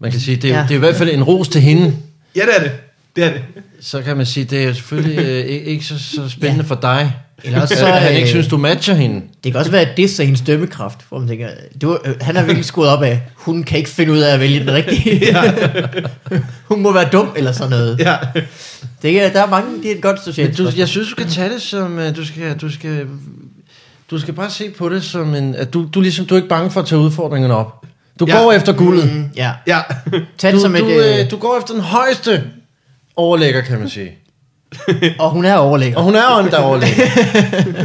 man kan sige, det er, jo, Ja. det er i hvert fald en ros til hende. Ja, det er det. Det er det. Så kan man sige, det er jo selvfølgelig øh, ikke ikke så, så spændende Ja. for dig. Eller også så, Så, at han ikke øh, synes, du matcher hende. Det kan også være, at det er så hendes dømmekraft, hvor man tænker, du, øh, han er virkelig skudt op af, hun kan ikke finde ud af at vælge den rigtige. hun må være dum eller sådan noget. Ja. Det er, der er mange, det er et godt Men socialt du, spørgsmål. jeg synes, du skal tage det som, øh, du skal, du skal, du skal bare se på det som en, at du, du ligesom, du er ikke bange for at tage udfordringerne op. Du Ja. går efter guldet. Mm, ja, Ja. tag det Du, som et, du, øh, øh, du går efter den højeste overlægger, kan man sige. og hun er overlægger. Og hun er jo en, der er overlægger.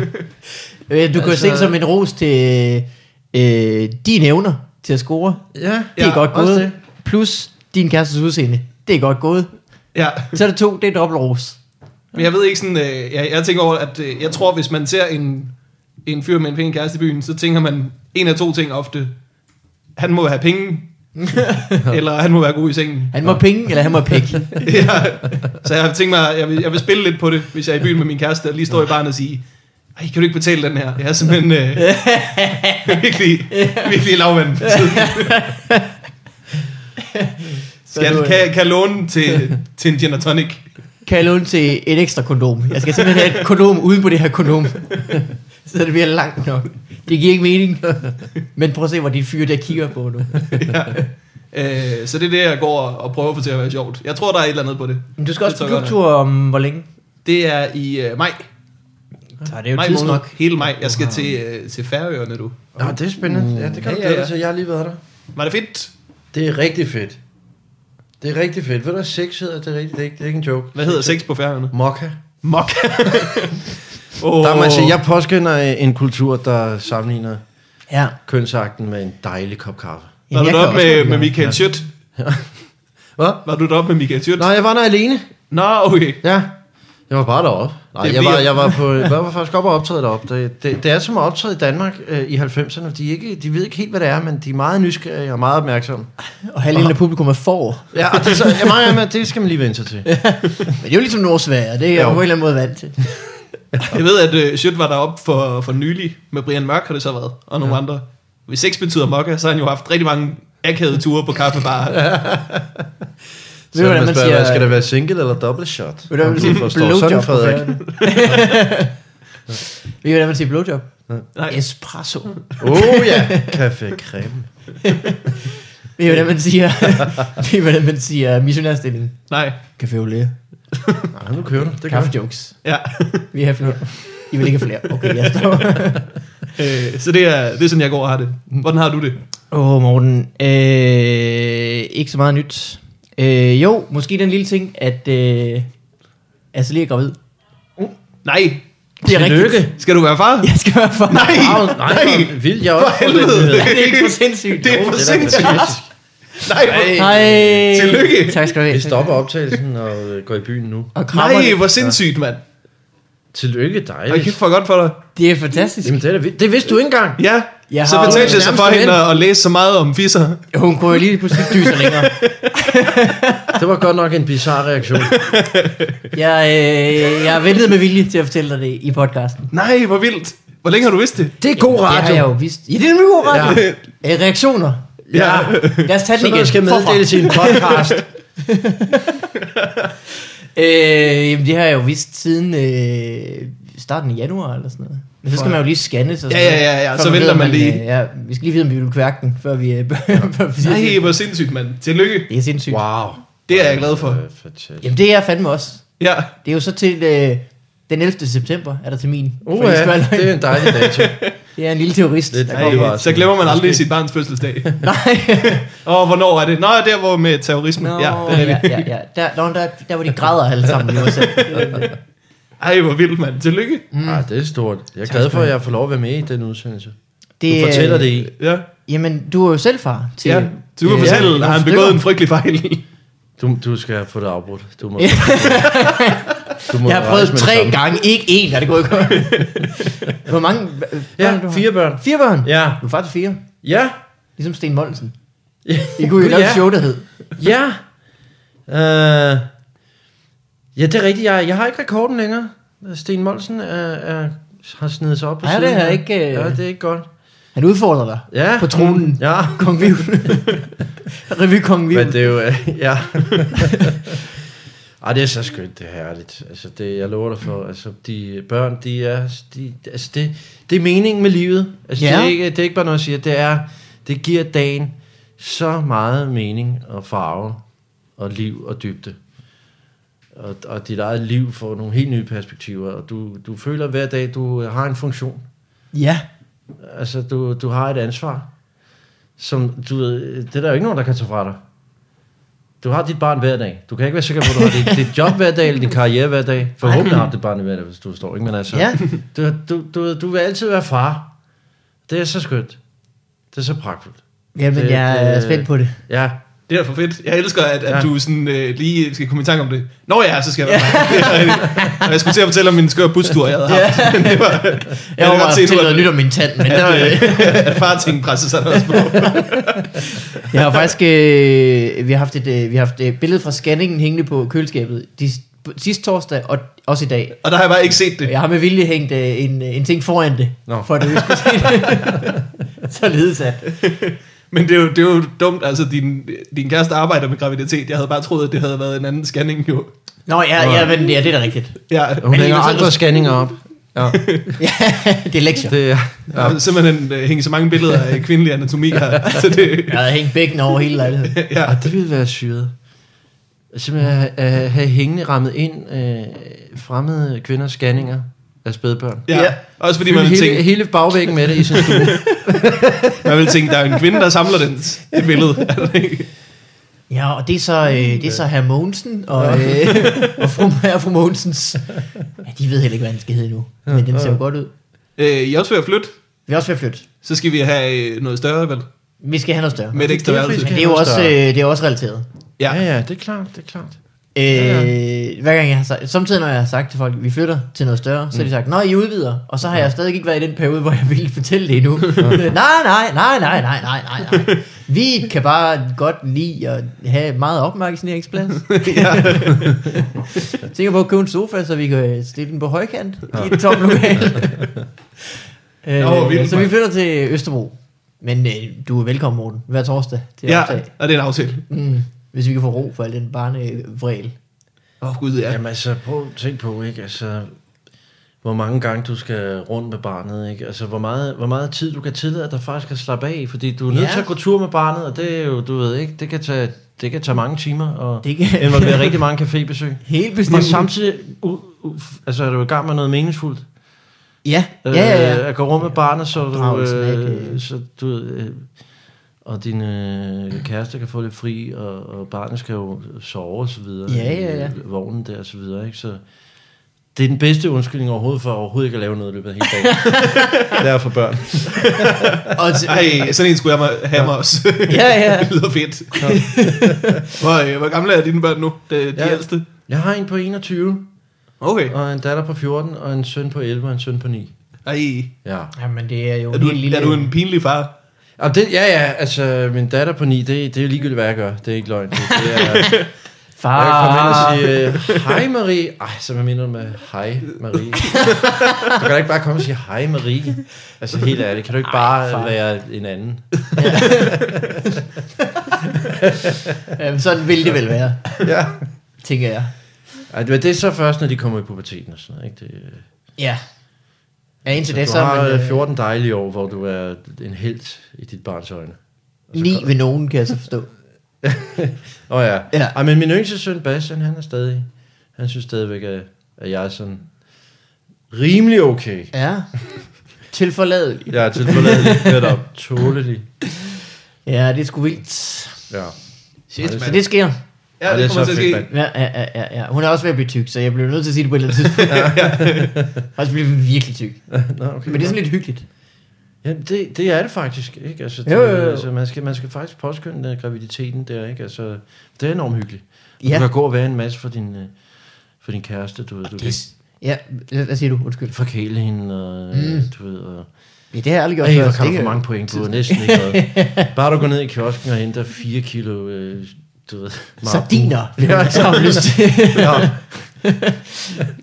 Øh, du kan altså, altså- se det som en ros til øh, dine evner til at score. Ja, Det er Ja, godt også gået. det. Plus din kærestes udseende. Det er godt gået. ja. Så er det to, det er dobbelt ros. Men jeg ved ikke sådan... Øh, jeg, jeg tænker over, at øh, jeg tror, hvis man ser en, en fyr med en pæn kæreste i byen, så tænker man en af to ting ofte. Han må have penge, eller han må være god i sengen. Han må penge, eller han må pikke. ja. Så jeg har tænkt mig, jeg vil, jeg vil spille lidt på det, hvis jeg er i byen med min kæreste, og lige står i barnet og sige, ej, kan du ikke betale den her? Jeg er simpelthen øh, virkelig, virkelig lavmand. for tiden." Så Skal, du, øh, kan, jeg- kan jeg låne til, til en gin og tonic? kan jeg låne til et ekstra kondom. Jeg skal simpelthen have et kondom uden på det her kondom. Så det bliver langt nok. Det giver ikke mening. Men prøv at se, hvor de fyre der kigger på nu. ja. øh, så det er det, jeg går og, og prøver at få til at være sjovt. Jeg tror, der er et eller andet på det. Men du skal også Det på tror jeg godt, klubtur om hvor længe? Det er i øh, maj. Så det er jo Maj tids måned. nok. Hele maj. Jeg skal til, øh, til Færøerne nu. Nå, det er spændende. Ja, det kan du Ja, ja, ja, ja. ja. så jeg har lige været der. Var det fedt? Det er rigtig fedt. Det er rigtig fedt. Ved du, hvad sex hedder? Det er, rigtig, det er, ikke, det er ikke en joke. Hvad hedder sex på Færøerne? Mokka. Mok. oh. Der må jeg sige, jeg påskynder en kultur, der sammenligner Ja. kønsakten med en dejlig kop kaffe. Var du jeg kan deroppe også med, godt med lide Michael Schødt? Hvad? Var du deroppe med Michael Schødt? Nå, jeg var der alene. Nå, okay. Ja. Jeg var bare deroppe. Nej, Det jeg var, bliver- jeg var, på, jeg var faktisk op og optræde deroppe. Det, det, det er som at optræde i Danmark øh, i 90'erne. De, er ikke, de ved ikke helt, hvad det er, men de er meget nysgerrige og meget opmærksomme. ham. Og halvdelen af publikum er for. Ja, og det, er så, ja, meget, jamen, det skal man lige vende sig til. Men det er jo ligesom Nordsverige, og det er jeg Jo. jo. på en eller anden måde vant til. Jeg ved, at øh, Schødt var deroppe for, for nylig. Med Brian Mørk har det så været. Og nogle ja. andre. Hvis sex betyder mokka, så har han jo haft rigtig mange akavede ture på kaffebarer. Ja. Ved du, hvordan man man spørger, siger- skal det være single eller double shot? Ved du, hvad man Om siger? forstår Blowjob på Frederik. færgerne. Ved I, hvordan man siger blowjob? Nej. Espresso. Åh oh, ja, kaffe creme. Ved I, hvordan man siger, ved I, hvordan man siger missionærstilling? Nej. Café au lait. Nej, nu kører du. Det gør Kaffe du. jokes. Ja. Vi har flere. I vil ikke have flere. Okay, jeg står. Øh, så det er, det er sådan, jeg går og har det. Hvordan har du det? Åh, oh, Morten. Øh, ikke så meget nyt. Øh, jo, måske den lille ting, at øh, altså lige er gravid. Nej. Det er Tillykke. rigtigt. Skal du være far? Jeg skal være far. Nej. Wow, nej, Nej. vildt, jeg har også For fået den helvede. nyhed. Oh, det er ikke for sindssygt. Det er for da sindssygt. fantastisk. Nej, hvor, Nej. Tillykke. Tak skal du have. Vi stopper optagelsen og øh, går i byen nu. Og krammer nej, det. hvor sindssygt, mand. Tillykke Jeg dejligt. kæft for godt for dig. Det er fantastisk. Jamen, det, er da vildt. det vidste du ikke engang. Ja, Jeg så har- betalte jeg sig for Nærmeste hende at, at læse så meget om fisser. Hun kunne jo lige pludselig dyse længere. Det var godt nok en bizarre reaktion. Jeg, øh, jeg ventede med vilje til at fortælle dig det i podcasten. Nej, hvor vildt. Hvor længe har du vidst det? Det er god Det har jeg radio. jo vist. Ja, det er nemlig god radio. Ja. Reaktioner. Ja. Lad os tage den Sådan igen. noget skal Forfra. meddeles i en podcast. Øh, jamen, det har jeg jo vidst siden øh, starten af januar eller sådan noget. Men så skal man jo lige scanne sig. Ja, ja, ja, ja. Så venter man lige. øh, ja, vi skal lige vide, om vi vil kværken, før vi... Øh, før vi siger Nej, det. hvor sindssygt, mand. Tillykke. det er sindssygt. Wow. Wow. Det er jeg glad for. Øh, fantastisk. Jamen, det er jeg fandme også. Ja, Det er jo så til øh, den 11. september, er der til min. Uh, ja, det er en dejlig dato. det er en lille terrorist, Det- det, der Ej, nej, kommer. var så glemmer man sådan. aldrig Måske. sit barns fødselsdag. Nej. Og hvornår er det? Nå, der hvor med terrorisme. Nå, Ja, det er ja, rigtigt. ja, ja. Der, der, der, der, hvor de græder alle sammen i USA. Ej, hvor vildt, mand. Tillykke. Mm. Ah, det er stort. Jeg er glad for, at jeg får lov at være med i den udsendelse. Du Det, øh, fortæller det i. Ja, Jamen, du er jo selv far til... ja. Du kan øh, fortælle, nogle at han stykker. begået en frygtelig fejl. Du, du skal få det afbrudt. Du må, du må Jeg har prøvet rejse med det tre samme. gange, ikke én, er det gået godt. Hvor mange øh, børn du Ja, har? fire børn. Fire børn? Ja. Du er far til fire. Ja. Ligesom Sten Mollensen. I kunne jo Gud, lave ja. et show, der hed. Ja. Øh, ja, det er rigtigt. Jeg, jeg har ikke rekorden længere. Sten Molsen er, er, har snedet sig op på Ja, det siden. er her. ikke, øh, Ja, det er ikke godt. Han udfordrer dig. Ja. På tronen. Ja. Kong Viv. Revy Kong Viv. Men det er jo... øh, Ja. Ej, det er så skønt, det er herligt. Altså, det, jeg lover dig for, altså, de børn, de er... De, altså, det, det er meningen med livet. Altså, ja. Ja. det, er ikke, det er ikke bare noget, jeg siger. Det er, det giver dagen så meget mening og farve og liv og dybde. Og, og dit eget liv får nogle helt nye perspektiver, og du, du føler hver dag, du har en funktion. Ja. Altså, du, du har et ansvar, som du ved, det er der jo ikke nogen, der kan tage fra dig. Du har dit barn hver dag. Du kan ikke være sikker på, at du har dit, dit job hver dag, eller din karriere hver dag. Forhåbentlig har du dit barn hver dag, hvis du står, ikke? Men altså, Ja. du, du, du, ved, du vil altid være far. Det er så skønt. Det er så pragtfuldt. Jamen, Det- jeg er det- spændt på det. Ja, Det er for fedt. Jeg elsker, at, at Ja. du sådan, øh, lige skal komme i tanke om det. Nå ja, så skal jeg være med. Det er rigtigt. Og jeg skulle til at fortælle om min skøre bustur, jeg havde haft. Men det var, jeg, Jeg kan overvejer godt at se, fortælle du noget har- nyt om min tand, men det er at, øh, at farting pressede sig der også på. Jeg har faktisk, øh, vi har haft et, øh, vi har haft et billede fra scanningen hængende på køleskabet de, sidste torsdag og også i dag. Og der har jeg bare ikke set det. Jeg har med vilje hængt øh, en, en ting foran det, Nå. Nå. for at du ikke skulle se det. Således at. Men det er, jo, det er jo dumt, altså din, din kæreste arbejder med graviditet. Jeg havde bare troet, at det havde været en anden scanning jo. Nå, ja, ja, men, ja, det er da rigtigt. Ja, hun Men lægger ellers er andre det- scanninger op. Ja, Ja, det er lektier. det er... jeg har simpelthen øh, hængt så mange billeder af kvindelig anatomi her. Så det, Jeg havde hængt bækken over hele lejligheden. ja. Ej, det ville være syret. Simpelthen at have, at have hængende rammet ind øh, fremmede kvinders scanninger af spædbørn. Ja. Ja. ja. Også fordi Fylde man ville, hele, tænke, hele bagvæggen med det i sin stue. man ville tænke, der er en kvinde, der samler den, det billede. Er det ikke? Ja, og det er så, øh, det er så herr Mogensen og, øh, og fru, herre fru Mogensens. Ja, de ved heller ikke, hvad den skal hedde nu. Men den ser jo godt ud. øh, I er også ved at flytte, Vi er også ved at flytte. så skal vi have øh, noget større, vel? Vi skal have noget større. Med et ekstra derfor, I værelse. Men det er jo også, øh, det er jo også relateret. Ja. ja, ja, det er klart, det er klart. Øh, hver gang jeg har sagt, samtidig når jeg har sagt til folk, vi flytter til noget større, så Mm. har de sagt, nej, I udvider. Og så har jeg stadig ikke været i den periode, hvor jeg ville fortælle det endnu. nej, nej, nej, nej, nej, nej, nej, nej. Vi kan bare godt lide at have meget opmærksomhedsplads. Tænker på at købe en sofa, så vi kan stille den på højkant i et tomt lokal. øh, Nå, hvor vildt, så vi mand. flytter til Østerbro. Men øh, du er velkommen, Morten, hver torsdag til at Ja, optage. og det er en aftale. Mm, hvis vi kan få ro for al den barnevrel. Åh, oh, gud, ja. Ja. Jamen altså, prøv at tænk på, ikke? Altså, hvor mange gange du skal rundt med barnet, ikke? Altså, hvor meget, hvor meget tid du kan tillade dig faktisk at slappe af, fordi du er nødt Ja. til at gå tur med barnet, og det er jo, du ved ikke, det kan tage, det kan tage mange timer, og Det kan- involvere rigtig mange cafébesøg. Helt Og bestemt. samtidig, u, u, altså, er du i gang med noget meningsfuldt. Ja, ja, ja. ja. Øh, at gå rundt med barnet, så du, Opdragelsen af det. øh, så du øh, og din øh, kæreste kan få lidt fri, og, og barnet skal jo sove og så videre. Ja, ja, ja. i, øh, Vognen der og så videre, ikke? Så det er den bedste undskyldning overhovedet for overhovedet ikke at lave noget i løbet af hele dagen. det er for børn. Og til, Ej, sådan en skulle jeg mig- have mig også. Ja, ja. det lyder fedt. hvor, øh, hvor gamle er dine børn nu? De, de Ja. ældste? Jeg har en på 21, Okay. og en datter på 14, og en søn på 11, og en søn på 9. Ej, Ja. Jamen, det er jo er en du, helt lille... er du en pinlig far? Og det, ja, ja, altså min datter på 9, det, det er jo ligegyldigt, hvad jeg gør. Det er ikke løgn. Det, det er, Jeg kan komme ind og far? sige, øh, hej Marie. Ej, så man minder med, hej Marie. Du kan da ikke bare komme og sige, hej Marie. Altså helt ærligt, kan du ikke bare far. være en anden? Jamen, sådan vil det vel være, Ja. tænker jeg. Ej, det, det er så først, når de kommer i puberteten og sådan noget, ikke? Det, Ja. Ja, indtil det du så... har men, øh, øh, 14 dejlige år, hvor du er en helt i dit barns øjne. Ni ved nogen, kan jeg så forstå. Åh oh, ja. Ja. ja. Ej, men min yngste søn Bastian, han er stadig, han synes stadigvæk, at, at jeg er sådan rimelig okay. Ja. Tilforladelig. Jeg er tilforladelig, netop tålelig. Ja, det er sgu vildt. Ja. Shit, Så mand. det sker. Ja, Ej, det, kommer til at ske. mand. Ja, ja, ja, ja, ja. Hun er også ved at blive tyk, så jeg bliver nødt til at sige det på et eller andet tidspunkt. Også bliver virkelig tyk. Nå, okay. Men det er sådan lidt hyggeligt. Ja, det, det er det faktisk, ikke? Altså, det, Jo, jo, jo. altså man, skal, man skal faktisk påskynde øh, graviditeten der, ikke? Altså, det er enormt hyggeligt. Ja. Ja. Ah, Du kan gå og være en masse for din, øh, for din kæreste, du ved. Du kan Ja, hvad siger du? Undskyld. forkæle hende, og, mm. du ved, og, Ja, det har jeg aldrig gjort Ej, før, hvor så altså, kan du det få kan- mange point på, næsten ikke noget. Bare du går ned i kiosken og henter 4 kilo, øh, du ved, Sardiner, vil jeg så have lyst til. Ja.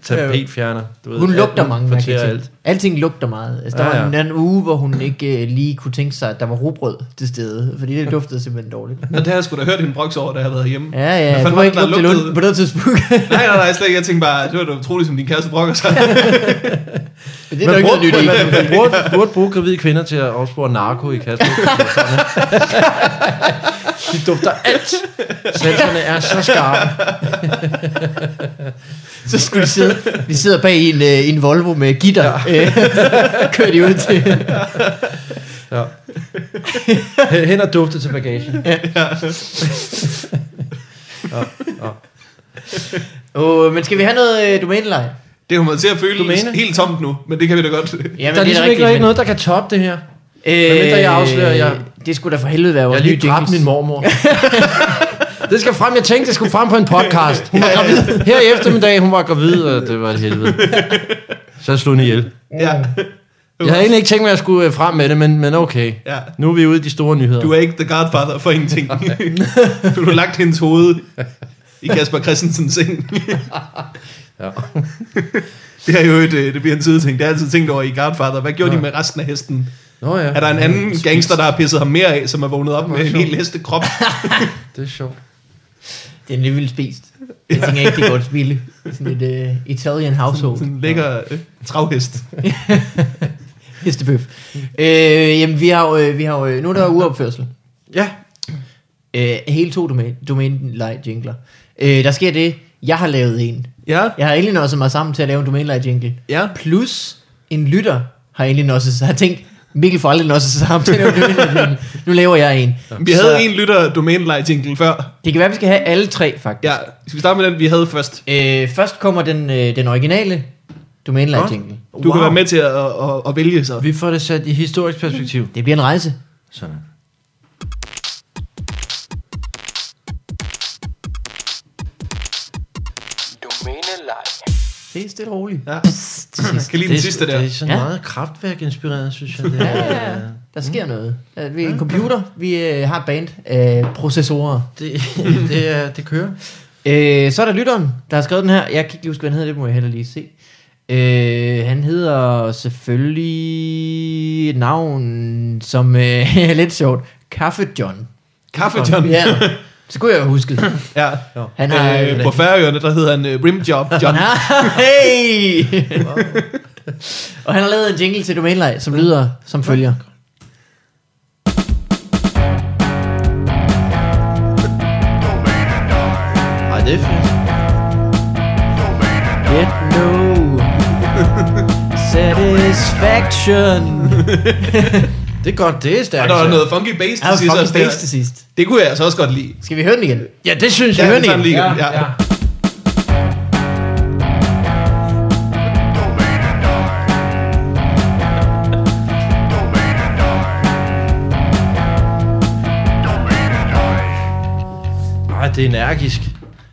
Tapetfjerner, du ved. Hun alt, lugter mange fortærer mærkelige ting. alt. Alting lugter meget. Altså, der Ja, ja, ja. var en ja. anden uge, hvor hun ikke øh, lige kunne tænke sig, at der var rugbrød til stede, fordi det duftede simpelthen dårligt. Og det har jeg sgu da hørt hende broks over, da jeg har været hjemme. Ja, Hvad ja, fanden du var var det, ikke der lugt til lugtede? lund på det tidspunkt. Nej, nej, nej, slet ikke. Jeg tænkte bare, det var da utroligt, som din kæreste brokker sig. Men det er nok ikke noget nyt i. man, man burde, burde bruge gravide kvinder til at opspore narko i kassen. De dufter alt. Senserne er så skarpe. Så skulle de sidde, de sidder bag en, øh, en Volvo med gitter. Ja. Kører de ud til. Ja. Hen og dufte til bagagen. Åh, men skal vi have noget øh, domæneleje? Det kommer til at føle Du mener? helt tomt nu, men det kan vi da godt. Ja, der er ligesom ikke rigtig noget, der kan toppe det her. medmindre jeg afslører, jeg- øh, Det skulle da for helvede være Jeg vores har nye lige dræbt jingles. min mormor. Det skal frem. Jeg tænkte, det skulle frem på en podcast. Hun var gravid. Her i eftermiddag, hun var gravid, og det var et helvede. Så jeg slog hende ihjel. ja. Jeg havde egentlig ikke tænkt mig, at jeg skulle øh, frem med det, men, men okay. ja. Nu er vi ude i de store nyheder. Du er ikke the godfather for ingenting. du har lagt hendes hoved i Kasper Christensens seng. Ja. Det er jo et, øh, det bliver en sideting. Det er altid tænkt over i Godfather. Hvad gjorde de med resten af hesten? Nå ja. Er der en anden gangster, der har pisset ham mere af, som er vågnet op med en hel hestekrop? Det er sjovt. Det er alligevel spist. Jeg tænker ikke, det er godt spille. Sådan et øh, Italian household. Sådan en lækker øh, travhest. Hestebøf. Øh, jamen, vi har jo, øh, vi har jo, øh, nu er der jo uopførsel. Ja. Øh, hele to domæn, domænelej jingler. Øh, der sker det, Jeg har lavet en. Ja, Jeg har egentlig nået så meget sammen til at lave en domænelej jingle. ja. Plus en lytter har egentlig nået sig, har tænkt, Mikkel får aldrig nået sig sammen til at lave en domænelej jingle. Nu laver jeg en. Vi havde så en lytter domænelejtingle før. Det kan være, vi skal have alle tre, faktisk. Ja, skal vi starte med den, vi havde først? Øh, først kommer den, øh, den originale domænelej jingle. Du wow. kan være med til at, at, at, at vælge så. Vi får det sat i historisk perspektiv. Det bliver en rejse. Sådan. Domænelej. Det er stille og roligt. Ja. Jeg kan lige den sidste der. Det er sådan Ja. ja. meget kraftværk-inspireret, synes jeg. Det Ja, ja, ja. er, Der sker noget. Øh, Vi er en computer, vi øh, har et band af processorer. det, det, er, det kører. Øh, så er der lytteren, der har skrevet den her. Jeg kan ikke huske, hvad han hedder, det må jeg heller lige se. Øh, han hedder selvfølgelig et navn, som øh, er lidt sjovt. Kaffe John. Kaffe John. Ja, så kunne jeg jo huske det. Ja. Han har... øh, på Færøerne, der hedder han øh, Rimjob John. John. hey! og han har lavet en jingle til Domænelej, som lyder som følger. Ej, det er fedt. Get no satisfaction. Det er godt, det er Og stærkt. der var noget funky bass Jeg til sidst har også fucking bass der. til sidst. Det kunne jeg altså også godt lide. Skal vi høre den igen? Ja, det synes jeg. høre vi den tager igen. igen. Ja, ja. Ej, det er energisk.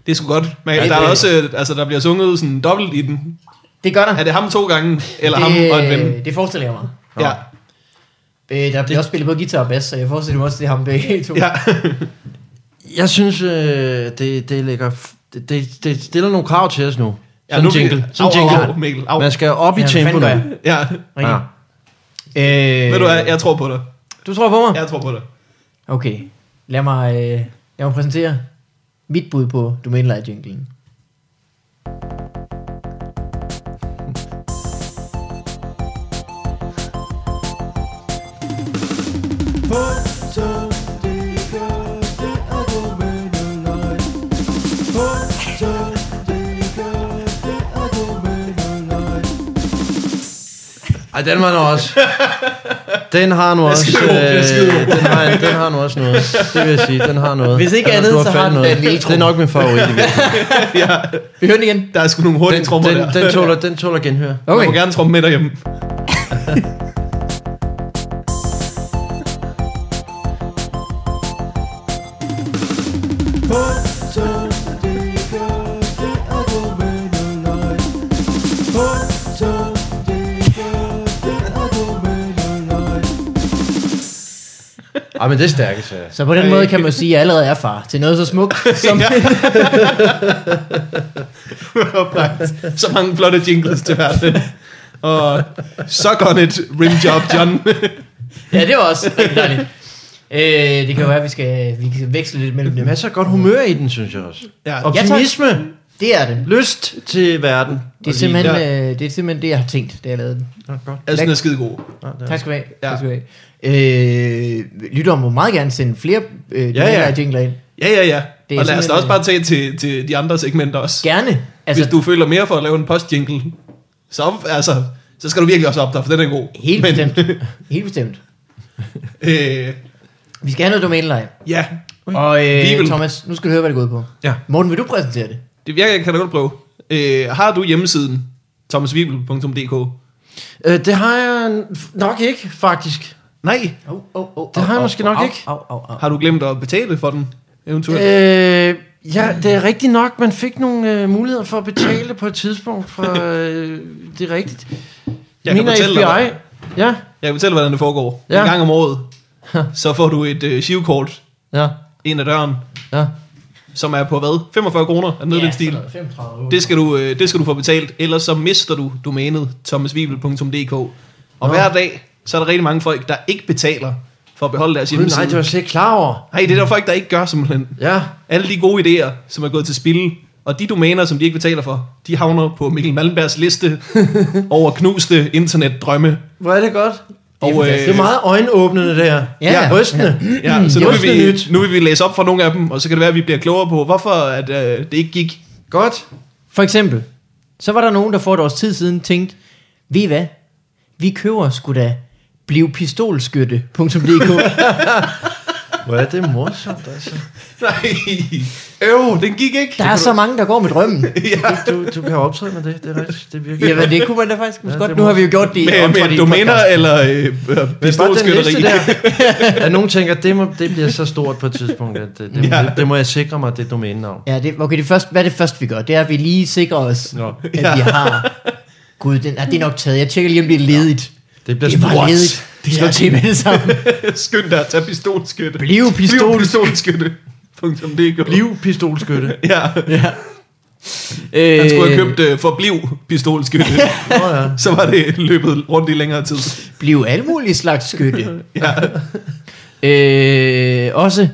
Det er sgu godt. Men Ja, der, det- er også, øh, altså, der bliver sunget sådan dobbelt i den. Det gør der. Er det ham to gange, eller ham det, og en ven? Det forestiller jeg mig. Ja, Øh, der bliver også spillet både guitar og bass, så jeg forestiller mig også, det er ham begge to. ja. Jeg synes, øh, det, det lægger... f- Det, det, det stiller nogle krav til os nu. ja Sådan nu en jingle. Sådan Sådan en jingle. Au, jingle. au, Mikkel, au. Man skal op i Ja, hvad tempo fanden nu. gør jeg? Ja. Rigtig. Ja. Øh, Ved du hvad, jeg tror på dig. Du tror på mig? Jeg tror på dig. Okay. Lad mig, øh, lad mig præsentere mit bud på domænelejjinglen. Ej, den var nu også. Den har nu også. skide god, det er skide Øh, den, har, den har nu også noget. Det vil jeg sige, den har noget. Hvis ikke den, andet, du så fat har den da en lille Det er nok min favorit. i virkeligheden. Vi hører den igen. Der er sgu nogle hurtige trommer den, der. den, den, tåler, den tåler genhør. Jeg må Okay. gerne tromme med derhjemme. Ej, men det er stærkt, så. Så Øh, på den måde kan man jo sige, at jeg allerede er far til noget så smukt som... Oplagt. så mange flotte jingles til verden. Og suck on it, rimjob John. ja, det var også rigtig dejligt. Øh, det kan jo være, at vi skal, vi kan veksle lidt mellem dem. Masser af godt humør i den, synes jeg også. ja. Optimisme, Det er det. lyst til verden. Det er, simpelthen, øh, det er simpelthen det, jeg har tænkt, da jeg lavede den. Ja, godt. Jeg synes, den er skide god. Tak skal du have. Ja. Ja. Tak skal du have. Øh, lytter må meget gerne sende flere øh, ja, Ja, ja. ja. jingler ind. Ja, ja, ja. Det er Og lad os da simpelthen- også bare tage til, til de andre segmenter også. Gerne. Altså, Hvis du føler mere for at lave en postjingle, så, op, altså, så skal du virkelig også op der, for den er god. helt Men, bestemt. helt bestemt. Øh, Vi skal have noget domæneleje. ja, Og Vi øh, vil- Thomas, nu skal du høre, hvad det går ud på. Ja. Morten, vil du præsentere det? det virker, jeg kan da godt prøve. Øh, har du hjemmesiden thomasvibel.dk? Øh, det har jeg nok ikke, faktisk. Nej. Oh, oh, oh, Det har jeg måske nok ikke. Au, au, au. Har du glemt at betale for den, eventuelt? Øh, ja, det er rigtigt nok. Man fik nogle øh, muligheder for at betale på et tidspunkt. Fra, øh, det er rigtigt. Jeg kan Min er fortælle dig, FBI. Ja, Jeg kan fortælle, hvordan det foregår. Ja. Ja. En gang om året, så får du et øh, shivkort ja, ind ad døren, ja. som er på hvad? 45 kroner af noget i den stil. sådan noget, 35. Det skal, du, øh, det skal du få betalt, ellers så mister du domænet thomasvibel.dk. Og hver dag, så er der rigtig mange folk, der ikke betaler for at beholde deres Gud, nej, hjemmeside. det var jeg slet ikke klar over. Nej, det er der folk, der ikke gør simpelthen. Ja, Alle de gode idéer, som er gået til spil, og de domæner, som de ikke betaler for, de havner på Mikkel Malmbergs liste over knuste internetdrømme. hvor er det godt. Og, øh, det er meget øjenåbnende, det her. Ja. ja rystende. Ja, så nu Det er vil, vi, nyt. nu vil vi læse op fra nogle af dem, og så kan det være, at vi bliver klogere på, hvorfor at, øh, det ikke gik. Godt. For eksempel, så var der nogen, der for et års tid siden tænkte, ved I hvad, vi køber sgu da blivpistolskytte.dk. Hvor er det morsomt, altså. Nej. Øv, den gik ikke. Der er så mange, der går med drømmen. Du, du kan jo optræde med det, det er rigtigt. Det virker. Jamen, det kunne man da faktisk måske Ja, ja, godt. det Nu må- har vi jo gjort det i Med, Omtrådt i med en domæner podcast. eller øh, øh, Men bare den pistolskytteri. næste der, at nogen tænker, det, må, det bliver så stort på et tidspunkt, at øh, det, det, ja. det, det må jeg sikre mig, det domænenavn. Ja, det, okay, det første, hvad er det første, vi gør? Det er, at vi lige sikrer os, Nå. Nå. at vi har... Gud, den, ah, det er nok taget. Jeg tjekker lige, om det er ledigt. Det bliver Det det var What? ledigt. Det er til med det samme. Skynd dig at tage pistolskytte. Bliv pistol. Bliv pistolskytte. Punktum DK. liv pistolskytte. Ja, Øh, han skulle have købt øh, for bliv pistolskytte. Nå ja. så var det løbet rundt i længere tid. Bliv alle mulige slags skytte. Ja. øh, også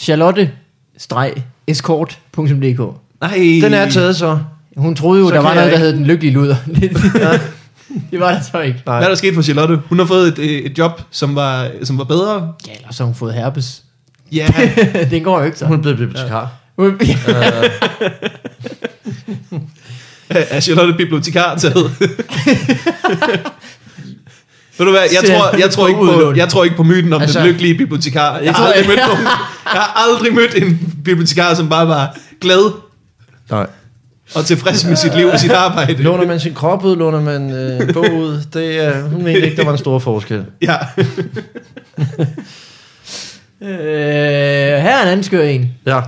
charlotte-escort.dk Nej. Den er taget så. Hun troede jo, Så der kan var jeg noget, der ikke. hed den lykkelige luder. det var der så ikke. Hvad er der sket for Charlotte? Hun har fået et, øh, et job, som var, som var bedre. Ja, eller så har hun fået herpes. Ja. den går jo ikke så. Hun er blevet bibliotekar. er Charlotte bibliotekar taget? Ved du hvad, jeg tror, jeg, tror ikke på, jeg tror ikke på myten om altså, den Altså- lykkelige bibliotekar. Jeg har, tror aldrig jeg- mødt nogen, jeg har aldrig mødt en bibliotekar, som bare var glad Nej. og tilfreds med sit liv og sit arbejde. Låner man sin krop ud, låner man øh, en bog ud. Det, øh, hun mente ikke, der var en stor forskel. Ja. øh, her er en anden skør en. Ja.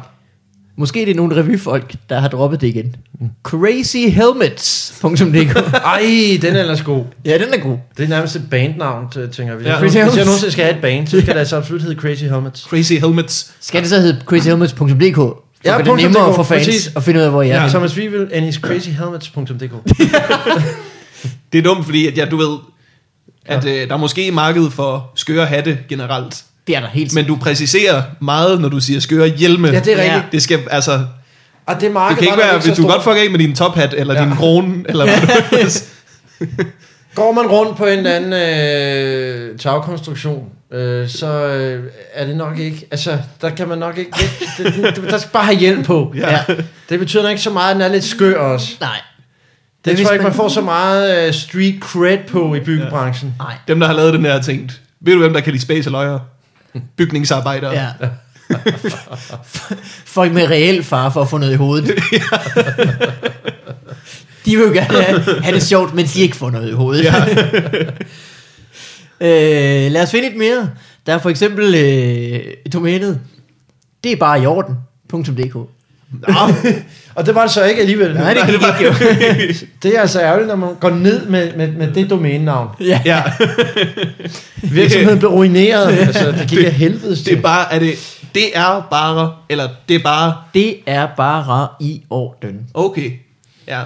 Måske det er nogle revyfolk, der har droppet det igen. Crazyhelmets.dk Ej, den er ellers god. Ja, den er god. Det er nærmest et bandnavn, t- tænker vi. Ja. Ja. Hvis jeg nogensinde skal have et band, så skal det altså absolut hedde Crazy Helmets. Crazy helmets. Skal det så hedde crazyhelmets.dk? For Ja, ja, det er nemmere .dk, for fans præcis. at finde ud af, hvor jeg Ja. er. Thomas Wivel and his crazyhelmets.dk Det er dumt, fordi at, ja, du ved, at øh, der er måske marked for skøre hatte generelt. Det er der helt Men du præciserer meget, når du siger skøre hjelme. Ja, det er rigtigt. Ja. Det skal, altså, Og det marked Det kan ikke var nok være, så hvis du stort. godt fucker af med din tophat, eller Ja. ja. din krone, eller hvad du Går man rundt på en eller anden øh, tagkonstruktion, øh, så øh, er det nok ikke... Altså, der kan man nok ikke... Det, det, det, der skal bare have hjælp på. Ja. Ja. Det betyder nok ikke så meget, at den er lidt skør også. Nej. Det Men tror hvis jeg ikke, man man- får så meget øh, street cred på i byggebranchen. Nej. Dem, der har lavet den her, har tænkt, ved du, hvem der kan lide space og løjer? Bygningsarbejdere. Ja. Folk med reel far for at få noget i hovedet. de vil jo gerne have, have det sjovt, men de ikke får noget i hovedet. Ja. øh, lad os finde et mere. Der er for eksempel øh, domænet. Det er bare i orden. .dk. Og det var det så ikke alligevel. Nej, det gik ikke jo. Det er altså ærgerligt, når man går ned med, med, med det domænenavn. Ja. ja. Virksomheden blev ruineret. Altså, det gik af helvedes Det er til. bare, er det, det er bare, eller det er bare, Det er bare i orden. okay. Ja.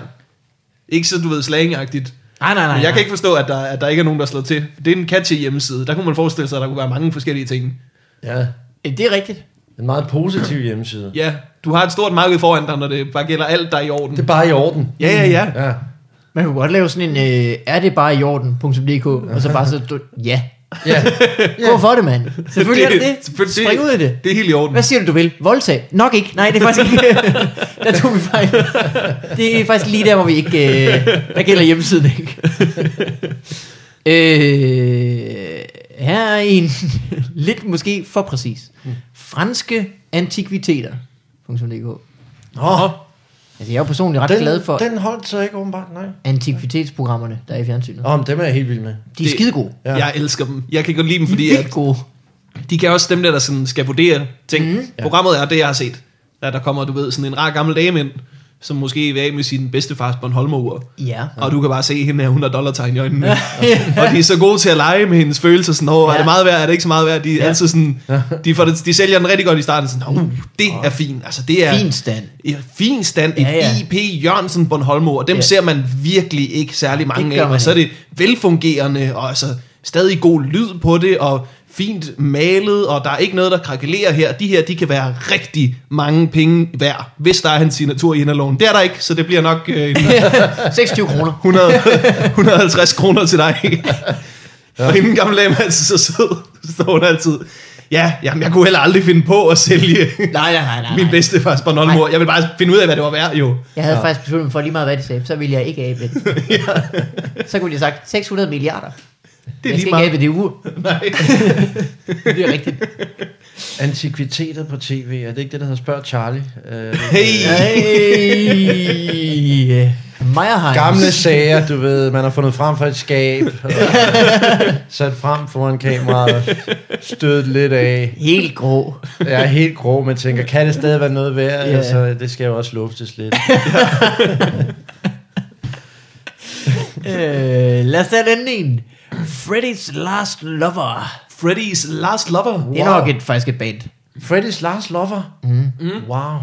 Ikke så, du ved, slangagtigt. Nej, nej, nej. Men jeg kan nej. ikke forstå, at der, at der ikke er nogen, der slår til. Det er en catchy hjemmeside. Der kunne man forestille sig, at der kunne være mange forskellige ting. Ja, Det er rigtigt. en meget positiv hjemmeside. Ja, du har et stort marked foran dig, når det bare gælder alt, der er i orden. Det er bare i orden. Ja, ja, ja. Ja. Man kunne godt lave sådan en, øh, er det bare i orden.dk, og så bare så, du, ja. ja. Gå for det, mand. Selvfølgelig er det det. selvfølgelig- Spring ud i det. Det er helt i orden. Hvad siger du, du vil? Voldtag? Nok ikke. Nej, det er faktisk ikke. der tog vi fejl. Det er faktisk lige der, hvor vi ikke... Øh, der gælder hjemmesiden, ikke? øh, her er en lidt måske for præcis. Mm. Franske antikviteter.dk Nå, Altså, jeg er jo personligt ret den, glad for den holdt så ikke åbenbart, nej. antikvitetsprogrammerne, der er i fjernsynet. Om dem er jeg helt vild med. De er Det- skide gode. Ja. Ja. Jeg elsker dem. Jeg kan godt lide dem, De fordi er at vildt gode. de kan også dem der, der sådan skal vurdere ting. Mm. Programmet er det, jeg har set. Der, der kommer, du ved, sådan en rar gammel dame ind, som måske vil af med sin bedstefars Bornholmer-ur. Ja. Og du kan bare se hende her, hun har dollartegn i øjnene. og de er så gode til at lege med hendes følelser. Sådan, Åh, er Ja. det meget værd? Er det ikke så meget værd? De, er altid sådan, de, får det, de sælger den rigtig godt i starten. Sådan, uh, det er fint. Altså, det er Fin stand. i fin stand, et Ja, ja. IP Jørgensen Bornholmo, og dem Ja. ja. ser man virkelig ikke særlig mange gør af, man og så er det velfungerende, og altså stadig god lyd på det, og fint malet, og der er ikke noget, der krakelerer her. De her, de kan være rigtig mange penge værd, hvis der er hans signatur i inderloven. Det er der ikke, så det bliver nok øh, en 26 kroner. 100, altså 150 kroner til dig. Og inden gamle dame er altid så sød, så står hun altid, Ja, jamen, jeg kunne heller aldrig finde på at sælge Nej, nej, nej, nej. min bedstefars Bornholmur. Nej. Jeg vil bare finde ud af, hvad det var værd, jo. Jeg havde ja. faktisk besluttet mig for lige meget, hvad de sagde. Så ville jeg ikke abe det. Så kunne de have sagt 600 milliarder. Det er jeg lige skal ikke meget. abe det ur. Nej. Det er rigtigt. Antikviteter på tv, er det ikke det, der hedder Spørg Charlie? Øh, Hey! Hey. Meyerheim. gamle sager, du ved, man har fundet frem for et skab, og sat frem foran kameraet, stødt lidt af. Helt grå. Jeg er helt grå, men tænker, kan det stadig være noget værd? Ja. Yeah. Altså, det skal jo også luftes lidt. øh, lad os tage den en. Freddy's Last Lover. Freddy's Last Lover. Det er nok et, faktisk et band. Freddy's Last Lover? Mm. Wow.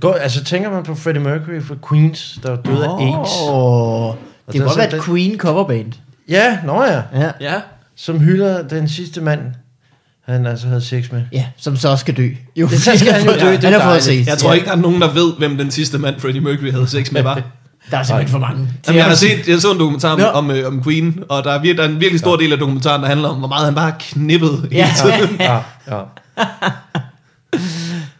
Går, altså, tænker man på Freddie Mercury fra Queens, der var død af AIDS? Åh, Og Det der må er være sådan et Queen coverband. Ja, nå ja. Ja. Ja. Som hylder den sidste mand, han altså havde sex med. ja, som så også skal dø. Jo, Det- så skal han jo dø, det er Han har fået dejligt. set. Jeg tror ikke, der er nogen, der ved, hvem den sidste mand, Freddie Mercury, havde sex med, var. Der er simpelthen for mange. Jamen, jeg har set, jeg så en dokumentar om, Nå. om, øh, om Queen, og der er, vir- der er en virkelig stor del af dokumentaren, der handler om, hvor meget han bare knippede. Ja. Ja, ja.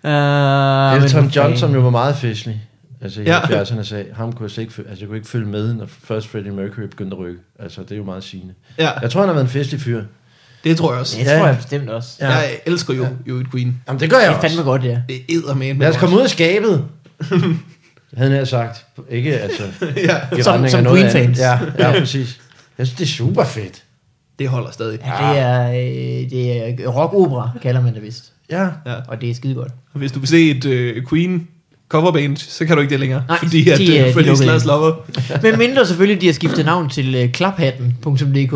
Uh, Elton John, som jo var meget festlig. Altså i Ja. ja. 70'erne sagde, ham kunne jeg slet ikke, fø- altså, jeg kunne ikke følge med, når først Freddie Mercury begyndte at rykke. Altså det er jo meget sigende. ja, Jeg tror, han har været en festlig fyr. det tror jeg også. Det tror jeg bestemt også. Ja. Jeg elsker jo, jo et Queen. Jamen det gør Det jeg er også. fandme godt, ja. Det æder med Lad os komme ud af skabet. havde han sagt. Ikke altså. Ja, i Som- retning som af noget Queen-fans. andet. Ja, ja, præcis. Jeg synes, det er super fedt. det holder stadig. ja det, er, øh, det er rock-opera, kalder man det vist. Ja. Og det er skide godt. Og Hvis du vil se et øh, Queen coverband, så kan du ikke det længere. Nej, fordi at de, øh, øh, de Freddy's lukkede. Last Lover, Men mindre selvfølgelig, de har skiftet navn til øh, klaphatten.dk.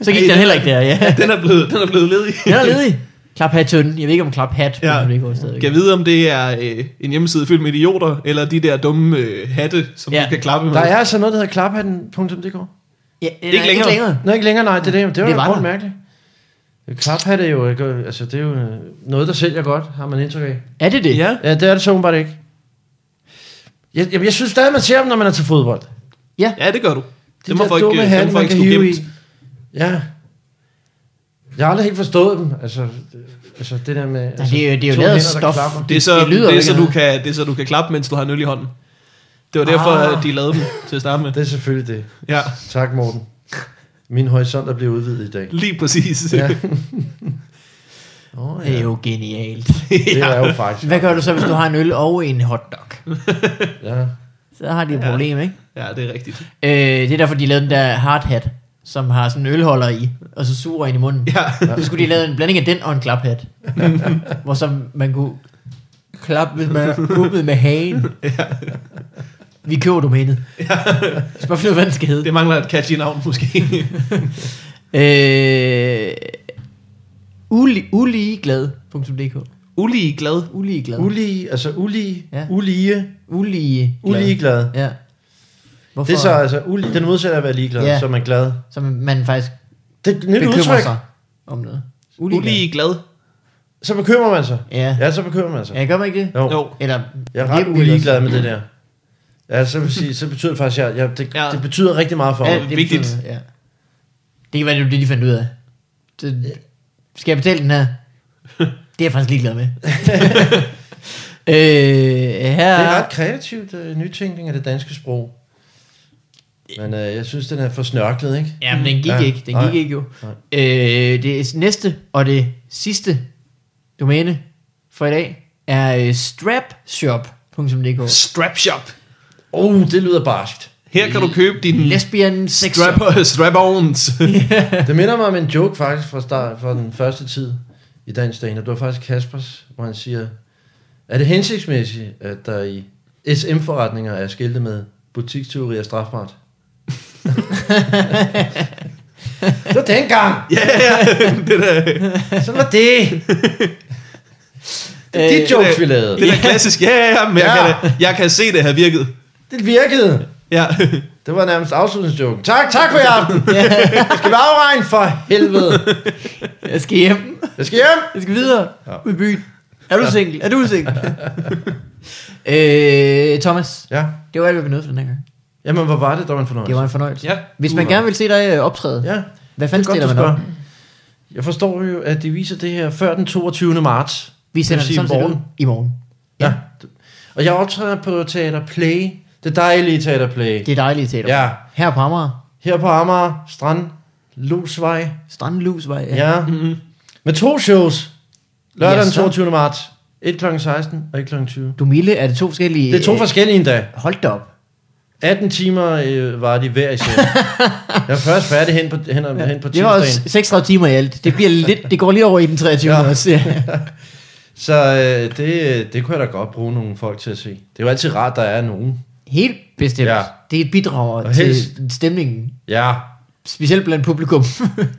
Så gik den heller ikke der, ja. den er blevet, den er blevet ledig. Den er ledig. Klaphatten. Jeg ved ikke, om klaphat.dk ja. stadig. Kan jeg vide, om det er øh, en hjemmeside fyldt med idioter, eller de der dumme øh, hatte, som Ja. ja. du kan klappe med? Der er altså noget, der hedder klaphatten.dk. Ja, nej, Ikke længere. Nå, ikke længere, nej, det, er det, det var Det det var var der. mærkeligt. Klaphat er jo, ikke- altså, det er jo øh, noget, der sælger godt, har man indtryk af. Er det det? Ja. Ja, det er det så åbenbart ikke. Jeg, jamen, jeg synes stadig, man ser dem, når man er til fodbold. De Ja, det gør du. De det må der folk, dumme øh, hatte, dem får man ikke kan stå hive i. gemt. Ja. Jeg har aldrig helt forstået dem. Altså, det- altså det der med... Altså, det er jo- det er jo to lavet af der stof. klapper. Det er så, Det det lyder det er, ikke så af du noget. kan, det er så, du kan klappe, mens du har en øl i hånden. Det var derfor, Ah. ah. de lavede dem til at starte med. Det er selvfølgelig det. Ja, Tak, Morten. Min horisont er blevet udvidet i dag. lige præcis. Ja. Ja. Åh, oh, Det ja. er jo genialt. Det er jo faktisk... Hvad gør du så, hvis du har en øl og en hotdog? Ja. Så har de et problem, ikke? ja, det er rigtigt. Øh, det er derfor, de lavede den der hard hat, som har sådan en ølholder i, og så suger ind i munden. Ja. Så skulle de lave en blanding af den og en klaphat, hvor så man kunne klappe, hvis man åbnede med hagen. Vi køber domænet. Så bare finde ud af, hvad den skal hedde. Det mangler et catchy navn, måske. Øh, uli, uligeglad.dk Ulige glad. Uligeglad. Ulige, altså ulige, Ja. ja. ulige, Ulige. ulige glad. Ja. Hvorfor? Det er så altså uli, den modsatte af at være ligeglad, Ja. ja. så er man glad. så man faktisk Det er et nyt bekymrer udtryk. sig om noget. Uligeglad. Ulige glad. Så bekymrer man sig. Ja. Ja, så bekymrer man sig. Ja, gør man ikke det? Jo. Jo. Eller Jeg er ret virkelig uligeglad med det der. Ja, så, vil sige, så betyder det faktisk, at jeg, jeg, det, Ja. ja. det betyder rigtig meget for også. mig. Ja. vigtigt. betyder- Ja. Det kan være, det er det, de fandt ud af. Det, skal jeg betale den her? Det er jeg faktisk ligeglad med. øh, her... Det er ret kreativt uh, nytænkning af det danske sprog. Men uh, jeg synes, den er for snørklet, ikke? Ja, men den gik Ja, ikke. Den nej, gik ikke jo. nej. Øh, det næste og det sidste domæne for i dag er øh, strapshop.dk. Strap shop. Oh, det lyder barskt. Her kan du købe din Lesbian sex shop. strap, strap-ons. Det minder mig om en joke faktisk fra, start, fra den første tid i dansk stand Det var faktisk Kaspers, hvor han siger, er det hensigtsmæssigt, at der i SM-forretninger er skilte med butiksteori og strafbart? det var dengang. ja, ja, det der, Sådan var det. Det er de Øh, jokes, vi lavede. det der klassisk. Ja, ja, ja, men ja. Jeg, kan, da- jeg kan se, det har virket. Det virkede. Ja. Det var nærmest afslutningsjoken. Tak, tak for i aften. Jeg skal bare afregne for helvede. Jeg skal hjem. Jeg skal hjem. Jeg skal videre. Ja. Ud i byen. Er du single? Er du single? øh, Thomas, Ja. det var alt, hvad vi nåede for den her gang. Jamen, hvor var det, der var en fornøjelse? Det var en fornøjelse. Ja. Hvis man Uh. gerne vil se dig øh, optræde, Ja, hvad fanden godt, stiller du man op? spørger. Jeg forstår jo, at de viser det her før den 22. marts. Vi Det sender vil det sige sådan set ud i morgen. Ja. ja. Og jeg optræder på Teater Play. Det dejlige Teater Play. Det er dejligt teater. Ja. Her på Amager. Her på Amager Strand. Lusvej. Strandlusvej. Ja. Ja. Mm-hmm. Med to shows. Lørdag Ja, den så. 22. marts. Et kl. 16 og et kl. 20. Du Mille, er det to forskellige... Det er to øh, forskellige endda. Hold da op. 18 timer øh, var de hver især. jeg var først færdig hen på, hen, hen på Det var tirsdagen. også 36 timer i alt. Det, bliver lidt, det går lige over i den 23. Ja. Ja. Også, ja. Så øh, det, det kunne jeg da godt bruge nogle folk til at se. Det er jo altid rart, der er nogen. Helt bestemt. Ja. Ja. Det er et bidrag Og til helst- stemningen. Ja, Specielt blandt publikum.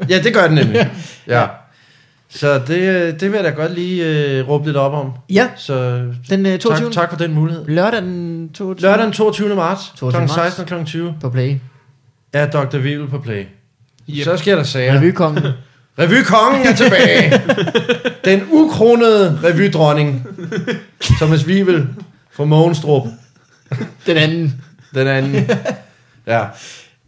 ja det gør den nemlig. ja. Så det, øh, det vil jeg da godt lige øh, råbe lidt op om. ja, Så den øh, tak, 22. tak for den mulighed. Lørdag den 22. Lørdag den 22. marts kl. 22. marts. 16 og kl. 20 på Play. er Dr. Vivel på play. Yep. Så sker der sager. Ja. Revykongen. Revykongen er tilbage. Den ukronede revydronning, Thomas Vivel fra Mogenstrup, den anden. den anden. Ja,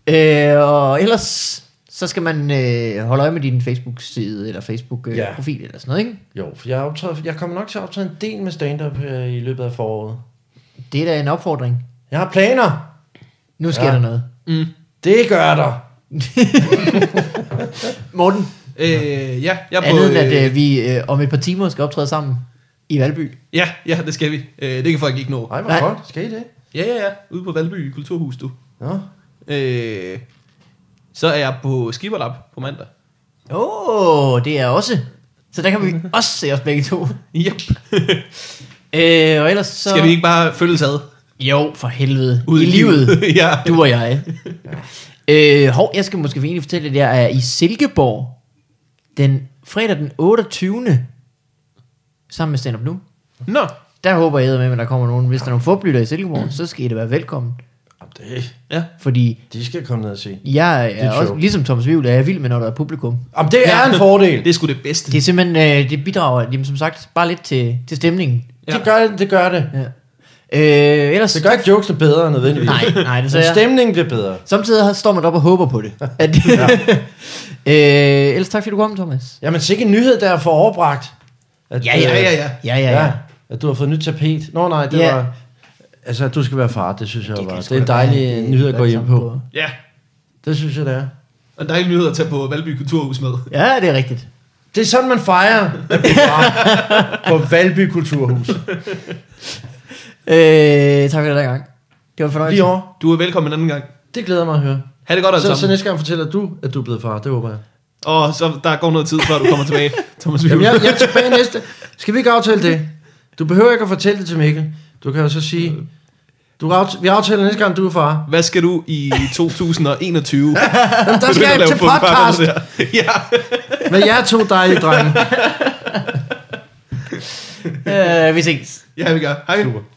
Øh, og ellers så skal man øh, holde øje med din Facebook-side eller Facebook-profil øh, Ja. profil eller sådan noget, ikke? jo, for jeg, optræder, jeg kommer nok til at optræde en del med stand-up øh, i løbet af foråret. Det er da en opfordring. Jeg har planer. Nu sker Ja. ja. der noget. Det gør der. Morten, Øh, ja, jeg er på... andet end at øh, øh, vi øh, om et par timer skal optræde sammen i Valby. ja, ja, det skal vi. Øh, det kan folk ikke nå. Ej, Nej. hvor godt. Skal I det? Ja, ja, ja. Ude på Valby Kulturhus, du. Nå. Øh, så er jeg på Skiverlap på mandag. Åh, oh, det er også. Så der kan vi også se os begge to. Yep. Øh, og ellers så... Skal vi ikke bare følges ad? Jo, for helvede. Ud I livet. ja. Du og jeg. øh, hov, jeg skal måske egentlig fortælle, at jeg er i Silkeborg den fredag den 28. Sammen med Stand Up Nu. Nå. Der håber jeg med, at der kommer nogen. Hvis der er nogle forblytter i Silkeborg, så skal I da være velkommen. Jamen, det, Ja. fordi de skal komme ned og se. jeg er er, et også, show. ligesom Thomas Vivl, er jeg vild med, når der er publikum. Jamen, det er Ja. en fordel. Det er sgu det bedste. Det er simpelthen, øh, det bidrager, jamen, som sagt, bare lidt til, til stemningen. Ja. Det gør det. Gør det. Ja. Øh, ellers... det gør ikke jokesene bedre nødvendigvis. Nej, nej, det Så så jeg. stemningen bliver bedre. Samtidig står man op og håber på det. At, ja. øh, ellers tak, fordi du kom, Thomas. Jamen, sikke en nyhed, der er for overbragt. At, Ja, ja, ja, øh, ja. Ja, ja, Ja, ja. ja. At du har fået nyt tapet. Nå nej, det Ja. var... Altså, at du skal være far, det synes jeg det var. jeg Det sgu er en da dejlig være. Det er nyhed at gå godt hjem sammen på. Ja. Det synes jeg, det er. Og en dejlig nyhed at tage på Valby Kulturhus med. Ja, det er rigtigt. Det er sådan, man fejrer at blive far på Valby Kulturhus. Øh, tak for det der gang. Det var en fornøjelse. Lige år. Du er velkommen en anden gang. Det glæder jeg mig at høre. Ha' det godt alle Så, så sammen. næste gang fortæller du, at du er blevet far. Det håber jeg. Og så der går noget tid, før du kommer tilbage, Thomas Vivl. Jamen, jeg, jeg er tilbage næste. Skal vi ikke aftale det? Du behøver ikke at fortælle det til Mikkel. Du kan jo så sige... Du aft- vi aftaler næste gang, du er far. Hvad skal du i 2021? Jamen, der skal Begynde at jeg lave til podcast der. Ja. med jer to dejlige drenge. Øh, vi ses. Øh, ja, vi gør. Hej. Super.